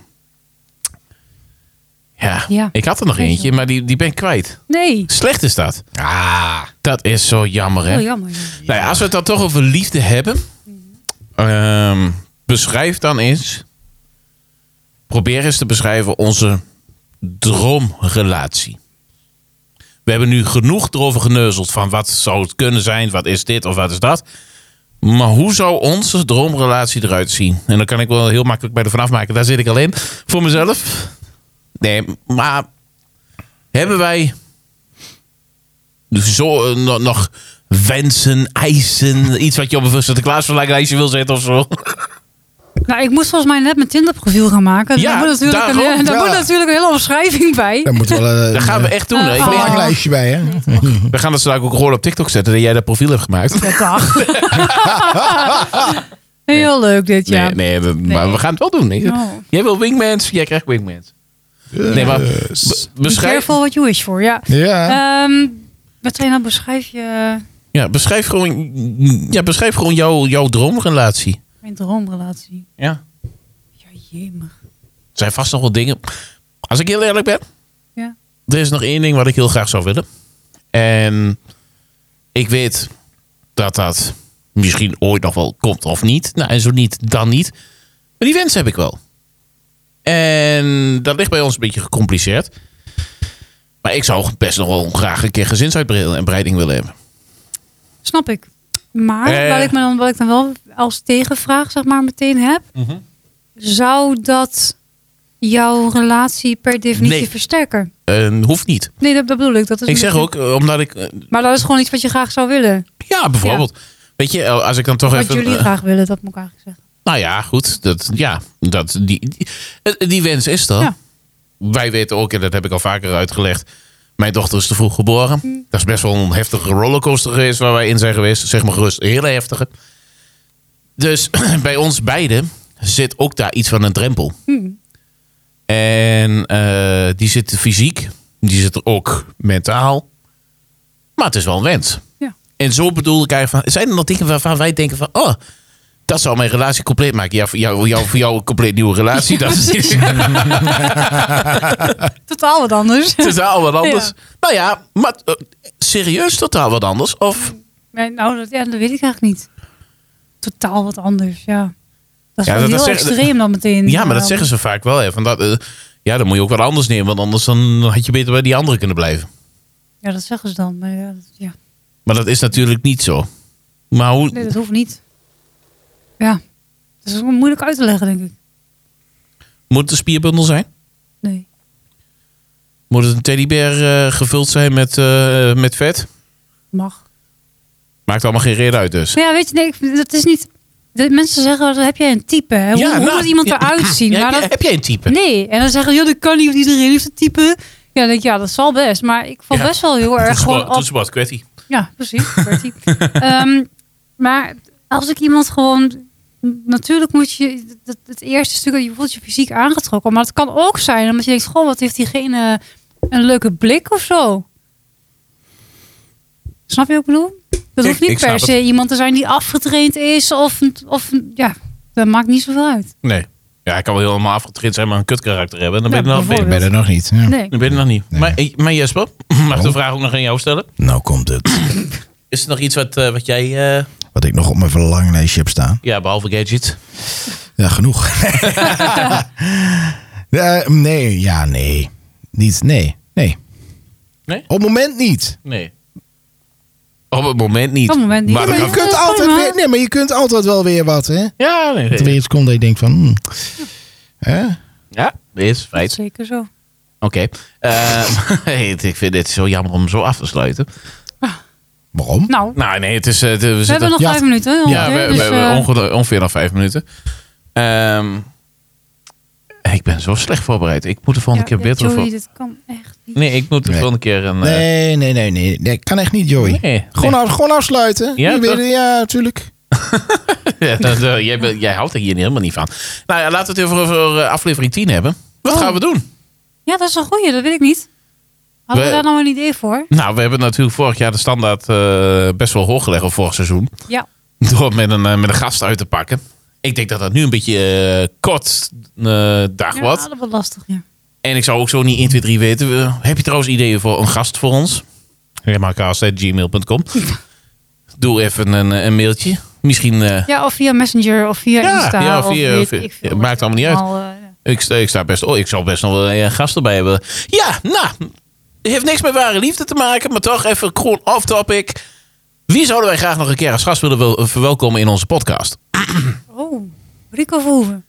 Speaker 3: Ja,
Speaker 1: Ja.
Speaker 3: ik had er nog
Speaker 1: Weet je
Speaker 3: eentje, maar die, die ben ik kwijt.
Speaker 1: Nee.
Speaker 3: Slecht is dat.
Speaker 2: Ah,
Speaker 3: Dat is zo jammer, hè?
Speaker 1: Heel jammer. ja.
Speaker 3: Nou ja, als we het dan toch over liefde hebben, ehm, beschrijf dan eens. Probeer eens te beschrijven onze droomrelatie. We hebben nu genoeg erover geneuzeld van wat zou het kunnen zijn, wat is dit of wat is dat. Maar hoe zou onze droomrelatie eruit zien? En dan kan ik wel heel makkelijk bij de vanaf maken. Daar zit ik alleen voor mezelf. Nee, maar hebben wij zo eh, nog, nog wensen, eisen, iets wat je op een Sinterklaasverlanglijstje wil zetten of zo?
Speaker 1: Nou, ik moest volgens mij net mijn Tinder-profiel gaan maken. dus
Speaker 3: Ja,
Speaker 1: daar moet natuurlijk, een, eh,
Speaker 3: daarom,
Speaker 1: daar
Speaker 2: ja.
Speaker 1: moet natuurlijk een hele omschrijving bij.
Speaker 2: daar moeten we wel eh,
Speaker 3: Dat gaan we
Speaker 2: een
Speaker 3: echt doen. hè? Ik
Speaker 1: Oh.
Speaker 3: weet-
Speaker 2: verlanglijstje bij, hè?
Speaker 3: we gaan dat straks ook gewoon op TikTok zetten dat jij dat profiel hebt gemaakt.
Speaker 1: Ja, dag. Heel leuk dit, ja.
Speaker 3: Nee, nee, dat- maar we gaan het wel doen. nee.
Speaker 1: Oh.
Speaker 3: Jij wil wingmans, jij krijgt wingmans. Nee, maar be-
Speaker 1: Be
Speaker 3: beschrijf,
Speaker 1: careful what you wish for, ja.
Speaker 2: Ja.
Speaker 1: Ehm, wat zijn nou beschrijf je
Speaker 3: ja, beschrijf gewoon, ja, beschrijf gewoon jouw, jouw droomrelatie.
Speaker 1: mijn droomrelatie?
Speaker 3: Ja.
Speaker 1: Ja, jemig.
Speaker 3: Er zijn vast nog wel dingen. Als ik heel eerlijk ben,
Speaker 1: Ja.
Speaker 3: Er is nog één ding wat ik heel graag zou willen. En ik weet dat dat misschien ooit nog wel komt of niet. Nou, en zo niet, dan niet. Maar die wens heb ik wel. En dat ligt bij ons een beetje gecompliceerd. Maar ik zou best nog wel graag een keer gezinsuitbreiding willen hebben.
Speaker 1: Snap ik. Maar
Speaker 3: Eh.
Speaker 1: wat, ik me dan, wat ik dan wel als tegenvraag zeg maar meteen heb.
Speaker 3: Mhm.
Speaker 1: Zou dat jouw relatie per definitie
Speaker 3: Nee.
Speaker 1: versterken?
Speaker 3: En hoeft niet.
Speaker 1: Nee, dat, dat bedoel ik. Dat is
Speaker 3: Ik
Speaker 1: een
Speaker 3: zeg
Speaker 1: beetje-
Speaker 3: ook, eh, omdat ik... eh,
Speaker 1: Maar dat is gewoon iets wat je graag zou willen.
Speaker 3: Ja, bijvoorbeeld. Weet je, eh, als ik dan toch
Speaker 1: Wat
Speaker 3: even...
Speaker 1: jullie
Speaker 3: eh,
Speaker 1: graag willen, dat moet ik eigenlijk zeggen.
Speaker 3: Nou ja, goed. Dat, ja, dat, die, die, eh, die wens is er.
Speaker 1: Ja.
Speaker 3: Wij weten ook, en dat heb ik al vaker uitgelegd. Mijn dochter is te vroeg geboren. Dat is best wel een heftige rollercoaster geweest waar wij in zijn geweest. Zeg maar gerust, een hele heftige. Dus bij ons beiden zit ook daar iets van een drempel. En eh, die zit fysiek, die zit er ook mentaal. Maar het is wel een wens.
Speaker 1: Ja.
Speaker 3: En zo bedoel ik eigenlijk van, zijn er nog dingen waarvan wij denken van, oh, dat zou mijn relatie compleet maken. Ja, voor jou, jou, voor jou een compleet nieuwe relatie. dat is
Speaker 1: Totaal wat anders.
Speaker 3: totaal wat anders.
Speaker 1: Ja.
Speaker 3: Nou ja, maar eh, serieus totaal wat anders? Of
Speaker 1: Nee, nou, dat, ja, dat weet ik eigenlijk niet. Totaal wat anders, ja. Dat is
Speaker 3: Ja,
Speaker 1: wel
Speaker 3: dat-
Speaker 1: heel
Speaker 3: dat zeggen-
Speaker 1: extreem dan meteen. eh,
Speaker 3: Ja, maar dat zeggen ze vaak wel. Hè. Van dat, eh, ja, dan moet je ook wat anders nemen. Want anders dan had je beter bij die andere kunnen blijven.
Speaker 1: Ja, dat zeggen ze dan. Maar ja, dat, ja.
Speaker 3: Maar dat is natuurlijk niet zo. Maar hoe...
Speaker 1: Nee, dat hoeft niet. Ja, dat is ook moeilijk uit te leggen, denk ik.
Speaker 3: moet het een spierbundel zijn?
Speaker 1: Nee.
Speaker 3: Moet het een teddybeer eh, gevuld zijn met, eh, met vet?
Speaker 1: Mag.
Speaker 3: Maakt allemaal geen reden uit dus.
Speaker 1: Nou ja, weet je, nee, ik- dat is niet... de mensen zeggen, dat heb jij een type? Hè? Hoe,
Speaker 3: Ja,
Speaker 1: hoe
Speaker 3: nou,
Speaker 1: moet iemand
Speaker 3: ja,
Speaker 1: eruit zien?
Speaker 3: Ja,
Speaker 1: Nou,
Speaker 3: heb, jij-
Speaker 1: dat-
Speaker 3: heb jij een type?
Speaker 1: nee, en dan zeggen ze, ja, dat kan niet, want iedereen heeft een type. Ja, dan denk ik, ja, dat zal best. Maar ik val
Speaker 3: Ja.
Speaker 1: best wel heel erg gewoon op
Speaker 3: wat kwettie.
Speaker 1: Ja, precies. Bertie. Ehm, maar als ik iemand gewoon... Natuurlijk moet je... Dat, het eerste stuk, je voelt je fysiek aangetrokken. Maar het kan ook zijn omdat je denkt... Goh, wat heeft diegene een leuke blik of zo? Snap je wat ik bedoel? Dat
Speaker 3: Ik-
Speaker 1: hoeft niet
Speaker 3: ik
Speaker 1: per
Speaker 3: snap
Speaker 1: se iemand te zijn die afgetraind is. Of, een- of een- ja, dat maakt niet zoveel uit.
Speaker 3: Nee. Ja, ik kan wel helemaal afgetraind zijn, maar een kut karakter hebben. Dan ben je
Speaker 1: Ja,
Speaker 3: er nog
Speaker 1: bijvoorbeeld.
Speaker 3: niet.
Speaker 4: ben je er nog niet. Ja.
Speaker 1: Nee.
Speaker 3: Dan ben je er nog niet.
Speaker 4: Nee.
Speaker 3: Maar, eh, maar Jesper, mag ik de vraag ook nog aan jou stellen?
Speaker 2: Nou komt het.
Speaker 3: Is er nog iets wat, eh, wat jij... eh,
Speaker 2: Wat ik nog op mijn verlanglijstje heb staan.
Speaker 3: ja, behalve gadget.
Speaker 2: Ja, genoeg. Eh, nee, ja, nee. Niet, nee, nee.
Speaker 3: Nee?
Speaker 2: Op het moment niet.
Speaker 3: Nee. Op het moment niet.
Speaker 1: Op het moment niet.
Speaker 3: Maar
Speaker 1: Ja,
Speaker 3: dat
Speaker 1: maar
Speaker 2: Je
Speaker 3: kan-
Speaker 1: je-
Speaker 2: kunt
Speaker 1: Eh,
Speaker 2: altijd
Speaker 1: prima.
Speaker 2: weer, nee, maar je kunt altijd wel weer wat, hè?
Speaker 3: Ja,
Speaker 2: Dat
Speaker 3: nee,
Speaker 2: er
Speaker 3: nee.
Speaker 2: weer iets komt dat je denkt van... hmm, hè?
Speaker 3: Ja, dat is
Speaker 1: Dat is
Speaker 3: feit.
Speaker 1: zeker zo. Nou,
Speaker 3: Oké. Eh, ik vind dit zo jammer om zo af te sluiten.
Speaker 2: Waarom?
Speaker 1: Nou,
Speaker 3: Nou, nee, het is... eh, we
Speaker 1: we
Speaker 3: zitten...
Speaker 1: hebben nog
Speaker 2: ja,
Speaker 1: vijf minuten.
Speaker 3: Ja,
Speaker 1: ongeveer,
Speaker 3: we, we
Speaker 1: dus,
Speaker 3: hebben
Speaker 1: eh,
Speaker 3: ongeveer, ongeveer nog vijf minuten. Ehm, ik ben zo slecht voorbereid. Ik moet de volgende
Speaker 1: ja,
Speaker 3: keer beter
Speaker 1: Joey,
Speaker 3: voor.
Speaker 1: dit kan echt niet.
Speaker 3: Nee, ik moet de
Speaker 2: Nee.
Speaker 3: volgende keer een. eh,
Speaker 2: Nee, nee, nee, nee. nee kan echt niet, Joey.
Speaker 3: nee.
Speaker 2: Gewoon, af- gewoon afsluiten.
Speaker 3: Ja,
Speaker 2: Ja,
Speaker 3: toch?
Speaker 2: weer, ja, natuurlijk.
Speaker 3: Ja, dat, eh, jij, bent- jij houdt er hier helemaal niet van. Nou ja, laten we het even over eh, aflevering 10 hebben. Wat
Speaker 1: Oh.
Speaker 3: gaan we doen?
Speaker 1: Ja, dat is een goeie, dat weet ik niet. Hadden we,
Speaker 3: We-
Speaker 1: daar nou een idee voor?
Speaker 3: Nou, we hebben natuurlijk vorig jaar de standaard eh, best wel hoog gelegd op vorig seizoen.
Speaker 1: Ja.
Speaker 3: Door met een, eh, met een gast uit te pakken. Ik denk dat dat nu een beetje eh, kort eh, dag wordt.
Speaker 1: Ja, dat was lastig, ja.
Speaker 3: En ik zou ook zo niet 1, 2, 3 weten. We- heb je trouwens ideeën voor een gast voor ons? Remacast.gmail.com Doe even een, eh, een mailtje. Misschien, eh,
Speaker 1: Ja, of via Messenger of via
Speaker 3: Ja,
Speaker 1: Insta.
Speaker 3: ja,
Speaker 1: of
Speaker 3: via-
Speaker 1: weet
Speaker 3: via-
Speaker 1: ik veel
Speaker 3: ja,
Speaker 1: wat
Speaker 3: maakt allemaal niet uit.
Speaker 1: eh, ja.
Speaker 3: ik, sta- ik, sta best, oh, ik zou best nog wel een gast erbij hebben. Ja, nou, heeft niks met ware liefde te maken, maar toch even gewoon off-topic. Wie zouden wij graag nog een keer als gast willen wel- verwelkomen in onze podcast?
Speaker 1: Oh, Rico Verhoeven.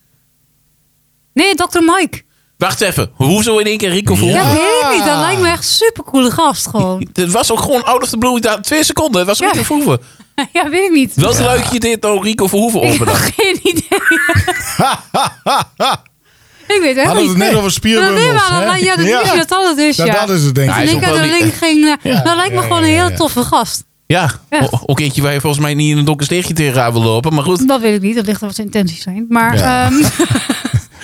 Speaker 1: Nee, Dr. Mike.
Speaker 3: Wacht even, hoezo in één keer Rico
Speaker 1: Ja,
Speaker 3: voelen?
Speaker 1: weet ik niet. Dat lijkt me echt supercoole gast gewoon.
Speaker 3: Het was ook gewoon out of the blue, daar- twee seconden. Het was
Speaker 1: Ja.
Speaker 3: Rico Verhoeven.
Speaker 1: ja, weet ik niet.
Speaker 3: Welk luikje dit nou Rico Verhoeven
Speaker 1: ik heb
Speaker 3: overdag?
Speaker 1: geen idee. ik weet het helemaal
Speaker 4: Hadden we
Speaker 1: niet.
Speaker 4: het net over
Speaker 1: Nee,
Speaker 4: spierwummels,
Speaker 1: maar
Speaker 4: hè?
Speaker 1: dat- ja, dat
Speaker 4: Ja.
Speaker 1: is dat altijd is, ja. Dus
Speaker 4: Nou, dat is het, denk
Speaker 3: Ja,
Speaker 1: Ik
Speaker 4: ik.
Speaker 3: hij is
Speaker 1: denk
Speaker 3: ook
Speaker 1: dat
Speaker 3: wel
Speaker 1: er
Speaker 3: die-
Speaker 1: link geen... eh, Dat lijkt me
Speaker 4: Ja,
Speaker 1: gewoon een
Speaker 4: ja, ja,
Speaker 1: hele
Speaker 4: ja.
Speaker 1: toffe gast.
Speaker 3: Ja,
Speaker 1: Echt.
Speaker 3: o- ook eentje waar je volgens mij niet in een donker steegje tegenaan wil lopen. Maar goed,
Speaker 1: Dat weet ik niet. Dat ligt aan wat zijn intenties zijn. Maar...
Speaker 4: Ja.
Speaker 1: ehm,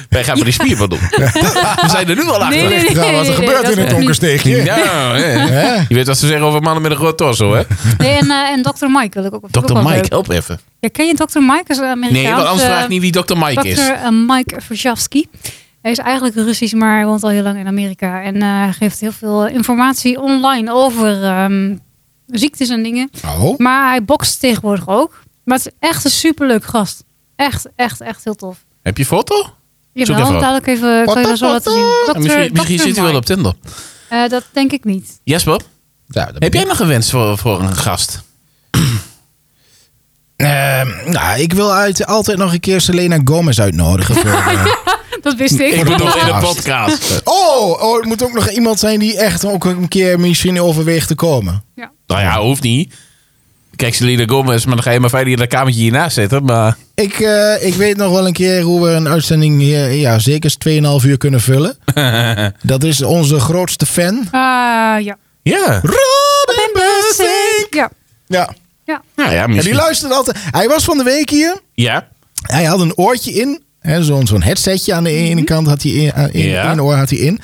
Speaker 3: wij gaan voor die spierpad doen. We zijn er nu al achter.
Speaker 1: nee, nee, nee,
Speaker 4: Ja, wat
Speaker 1: nee,
Speaker 4: er
Speaker 1: nee,
Speaker 4: gebeurt
Speaker 1: dat
Speaker 4: in het
Speaker 1: is niet.
Speaker 4: donkersteegje.
Speaker 3: Ja, ja, ja.
Speaker 4: Hè?
Speaker 3: Je weet wat ze zeggen over mannen met een groot torso, hè?
Speaker 1: Nee, en, eh, en Dr. Mike wil ik ook. vind ik
Speaker 3: Dr.
Speaker 1: ook wel
Speaker 3: Mike,
Speaker 1: leuk.
Speaker 3: help even.
Speaker 1: Ja, ken je Dr. Mike? Is een Amerikaans,
Speaker 3: Nee, want anders
Speaker 1: eh,
Speaker 3: vraag ik niet wie Dr. Mike
Speaker 1: Dr.
Speaker 3: is.
Speaker 1: eh, Mike Verzhavsky. Hij is eigenlijk Russisch, maar hij woont al heel lang in Amerika. En eh, hij geeft heel veel eh, informatie online over ehm, ziektes en dingen.
Speaker 4: Oh,
Speaker 1: Maar hij bokst tegenwoordig ook. Maar het is echt een superleuk gast. Echt, echt, echt heel tof.
Speaker 3: Heb je foto?
Speaker 1: Jawel,
Speaker 3: even op.
Speaker 1: dadelijk even, kan je dat zo laten zien. Dr.
Speaker 3: misschien
Speaker 1: Dr.
Speaker 3: misschien zit hij wel
Speaker 1: Mike.
Speaker 3: op Tinder.
Speaker 1: Eh, dat denk ik niet.
Speaker 3: Jesper,
Speaker 2: Ja, dat
Speaker 3: heb
Speaker 2: ben
Speaker 3: jij nog een wens voor, voor een gast?
Speaker 2: Ehm, nou, ik wil uit, altijd nog een keer Selena Gomez uitnodigen. Voor, eh,
Speaker 1: Dat wist ik.
Speaker 3: Ik
Speaker 2: de
Speaker 3: bedoel in de
Speaker 2: podcast.
Speaker 3: podcast. Eh,
Speaker 2: oh, oh, het moet ook nog iemand zijn die echt ook een keer misschien overweegt te komen.
Speaker 3: Nou ja, hoeft niet. Kijk, Selena Gomez, maar dan ga je maar veilig in dat kamertje hiernaast zitten. Maar
Speaker 2: Ik, eh, ik weet nog wel een keer hoe we een uitzending hier, ja, zeker eens 2,5 uur kunnen vullen. dat is onze grootste fan.
Speaker 1: Ah, ja.
Speaker 3: ja,
Speaker 2: Robin Bussing!
Speaker 1: Ja.
Speaker 2: Ja,
Speaker 3: nou ja,
Speaker 2: en die
Speaker 3: misschien.
Speaker 2: luistert altijd. Hij was van de week hier.
Speaker 3: Ja,
Speaker 2: Hij had een oortje in. hè, Zo'n zo'n headsetje aan de ene kant had hij in. aan- in
Speaker 3: Ja.
Speaker 2: één oor had hij in.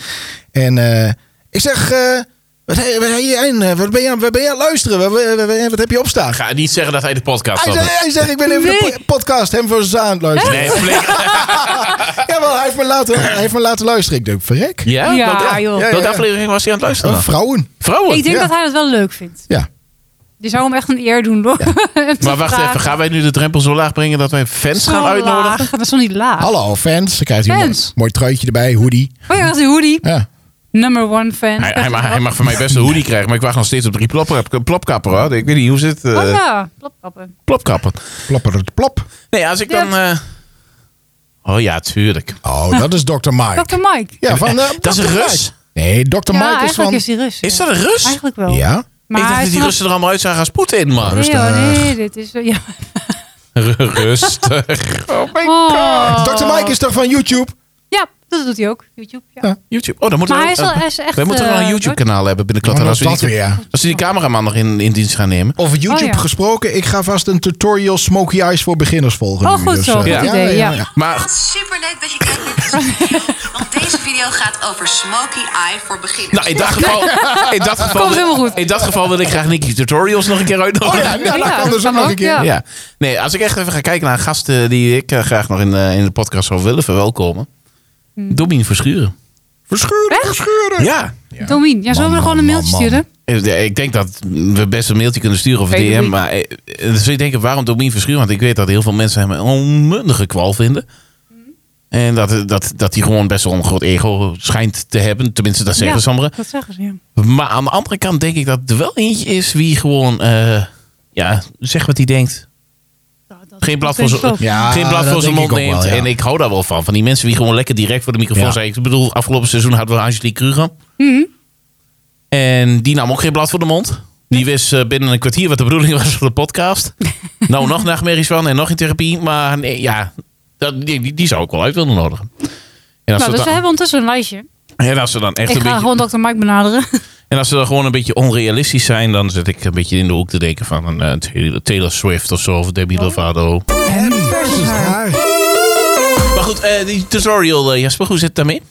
Speaker 2: En eh, ik zeg... eh, wat, he- wat, heb je in? Eh, wat ben je aan wat ben je aan het luisteren? Wat, wat- wat- wat heb je opstaan?
Speaker 3: ga niet zeggen dat hij de podcast
Speaker 2: Hij
Speaker 3: had.
Speaker 2: zegt, hij zegt, ik ben even
Speaker 1: Nee.
Speaker 2: de po- podcast hem voor zijn aan het luisteren.
Speaker 3: Nee, flink.
Speaker 2: Ja, wel, hij heeft me laten, hij heeft me laten luisteren. Ik denk, verrek.
Speaker 3: Ja?
Speaker 1: Ja,
Speaker 3: Welke-
Speaker 1: joh.
Speaker 2: Ja,
Speaker 3: Welke
Speaker 2: ja.
Speaker 3: aflevering was hij aan het luisteren?
Speaker 2: Oh, vrouwen.
Speaker 3: Vrouwen?
Speaker 1: Ik denk
Speaker 2: ja.
Speaker 1: dat hij dat wel leuk vindt.
Speaker 2: Ja.
Speaker 3: Ah.
Speaker 1: Je zou hem echt een eer doen, hoor.
Speaker 3: maar wacht even, gaan wij nu de drempel zo laag brengen dat wij fans gaan uitnodigen?
Speaker 1: Dat is nog niet laag.
Speaker 2: Hallo, fans. Dan krijgt hij een mooi,
Speaker 1: Fans.
Speaker 2: mooi truitje erbij, hoodie.
Speaker 1: Oh ja, dat is een hoodie.
Speaker 2: Ja.
Speaker 1: Number one fan.
Speaker 3: Hij, hij, mag, hij mag van mij best een hoodie krijgen, maar ik wacht nog steeds op drie plopkap- plopkappen. Hoor. Ik weet niet hoe zit. eh
Speaker 1: Oh ja, plopkappen.
Speaker 3: Plopkappen.
Speaker 2: Plopper het plop.
Speaker 3: Nee, als ik
Speaker 1: Ja.
Speaker 3: dan. eh, Oh ja, tuurlijk.
Speaker 2: Oh, dat is Dr. Mike.
Speaker 1: Dr. Mike.
Speaker 2: Ja, van, eh,
Speaker 3: Dat is een
Speaker 2: Dr.
Speaker 3: Rus.
Speaker 2: Nee, Dr.
Speaker 1: ja,
Speaker 2: Mike is
Speaker 1: eigenlijk
Speaker 2: van...
Speaker 1: is hij Rus.
Speaker 3: Is
Speaker 1: ja.
Speaker 3: dat een Rus?
Speaker 1: Eigenlijk wel.
Speaker 2: Ja?
Speaker 1: Maar
Speaker 3: ik
Speaker 1: hij
Speaker 3: dacht dat
Speaker 1: is
Speaker 3: die
Speaker 1: nog-
Speaker 3: Russen er allemaal uitzagen als Poetin, man.
Speaker 1: Nee,
Speaker 2: Rustig.
Speaker 1: hoor, nee, dit is... Ja.
Speaker 3: Rustig.
Speaker 1: Oh.
Speaker 3: Oh
Speaker 2: Dr. Mike is toch van YouTube?
Speaker 1: Ja, Dat doet hij ook, YouTube. Ja.
Speaker 2: Ja.
Speaker 3: YouTube. Oh, dan moeten
Speaker 1: Maar hij
Speaker 3: we,
Speaker 1: is, wel,
Speaker 3: eh,
Speaker 1: hij is echt...
Speaker 3: wij moeten wel
Speaker 1: eh,
Speaker 3: een YouTube-kanaal hebben binnenkort.
Speaker 2: Oh,
Speaker 3: als,
Speaker 2: dat dat
Speaker 3: we die,
Speaker 2: weer.
Speaker 3: als we die cameraman nog in, in dienst gaan nemen.
Speaker 2: Over YouTube
Speaker 1: Oh, ja.
Speaker 2: gesproken, ik ga vast een tutorial Smoky Eyes voor beginners volgen.
Speaker 1: Oh,
Speaker 2: nu,
Speaker 1: goed
Speaker 2: dus,
Speaker 1: zo,
Speaker 2: eh,
Speaker 1: goed idee, ja.
Speaker 3: Maar
Speaker 2: Ah.
Speaker 5: Wat super leuk dat je kijkt naar deze video. Want deze video gaat over Smoky Eye voor beginners.
Speaker 3: nou, in dat geval... In dat geval
Speaker 1: Komt helemaal goed. Oh
Speaker 3: In dat geval wil ik graag Nicky Tutorials nog een keer uitnodigen.
Speaker 2: ja, nou, dat
Speaker 1: Ja,
Speaker 2: kan dus ook
Speaker 1: kan
Speaker 2: nog
Speaker 1: ook,
Speaker 2: een keer.
Speaker 1: ja.
Speaker 3: Ja. Nee, als ik echt even ga kijken naar gasten die ik eh, graag nog in, eh, in de podcast zou willen verwelkomen. Domien Verschuren.
Speaker 2: Verschuren,
Speaker 1: Echt?
Speaker 2: verschuren.
Speaker 3: Ja.
Speaker 1: Domien, Hmm. ja, zullen we
Speaker 2: Man,
Speaker 1: er gewoon een
Speaker 2: man,
Speaker 1: mailtje
Speaker 2: man, man.
Speaker 1: sturen?
Speaker 3: Eh, ja, Ik denk dat we best een mailtje kunnen sturen of een
Speaker 1: Hey,
Speaker 3: DM.
Speaker 1: Domien.
Speaker 3: Maar eh, eh, dan zul je denken, waarom Domien Verschuren? Want ik weet dat heel veel mensen hem een onmundige kwal vinden.
Speaker 1: Hmm.
Speaker 3: En dat, eh, dat, dat hij gewoon best wel een groot ego schijnt te hebben. Tenminste, dat zeggen
Speaker 1: Ja.
Speaker 3: sommigen.
Speaker 1: Dat zeggen ze, ja.
Speaker 3: Maar aan de andere kant denk ik dat er wel eentje is wie gewoon, eh, ja, zeg wat hij denkt.
Speaker 1: Nou,
Speaker 3: Geen blad voor
Speaker 1: denk ik
Speaker 3: zijn
Speaker 1: ook.
Speaker 2: Ja,
Speaker 3: geen blad
Speaker 2: dat
Speaker 3: voor zijn
Speaker 2: denk
Speaker 3: mond
Speaker 2: ik ook
Speaker 3: neemt.
Speaker 2: wel, ja.
Speaker 3: En ik hou daar wel van. Van die mensen die gewoon lekker direct voor de microfoon
Speaker 2: Ja.
Speaker 3: zijn. Ik bedoel, afgelopen seizoen hadden we Angelique Kruger.
Speaker 1: Mhm.
Speaker 3: En die nam ook geen blad voor de mond. Die wist eh, binnen een kwartier wat de bedoeling was van de podcast. nou, nog nachtmerries van en nog in therapie. Maar nee, ja, dat, die, die- die zou ik wel uit willen nodigen. En
Speaker 1: Nou,
Speaker 3: als,
Speaker 1: dus
Speaker 3: ze,
Speaker 1: we
Speaker 3: dan,
Speaker 1: hebben ondertussen een lijstje.
Speaker 3: en als ze dan echt
Speaker 1: Ik
Speaker 3: een
Speaker 1: ga
Speaker 3: beetje...
Speaker 1: gewoon dokter Mike benaderen.
Speaker 3: En als ze dan gewoon een beetje onrealistisch zijn, dan zit ik een beetje in de hoek te denken van een eh, Taylor- Taylor Swift of zo, of Debbie Lovato. Maar goed, eh, die tutorial, eh, Jasper, hoe zit het daarmee?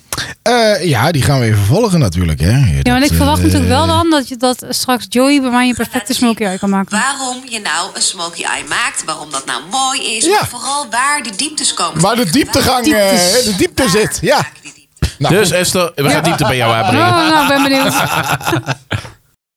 Speaker 2: Eh, ja, die gaan we even volgen natuurlijk. Hè.
Speaker 1: Ja, want ik verwacht natuurlijk wel dan dat, je, dat straks Joey bij mij een perfecte smoky eye kan maken.
Speaker 5: Waarom je nou een Smoky Eye maakt, waarom dat nou mooi is.
Speaker 2: Ja.
Speaker 5: Maar vooral waar de dieptes komen.
Speaker 2: Waar de dieptegang, eh,
Speaker 1: Dieptes.
Speaker 2: de diepte
Speaker 5: Waar
Speaker 2: zit. Ja.
Speaker 5: raken die dieptes?
Speaker 2: Nou,
Speaker 3: dus
Speaker 2: goed.
Speaker 3: Esther, we gaan diepte bij jou
Speaker 1: Oh,
Speaker 3: aanbrengen.
Speaker 1: nou, ik ben benieuwd.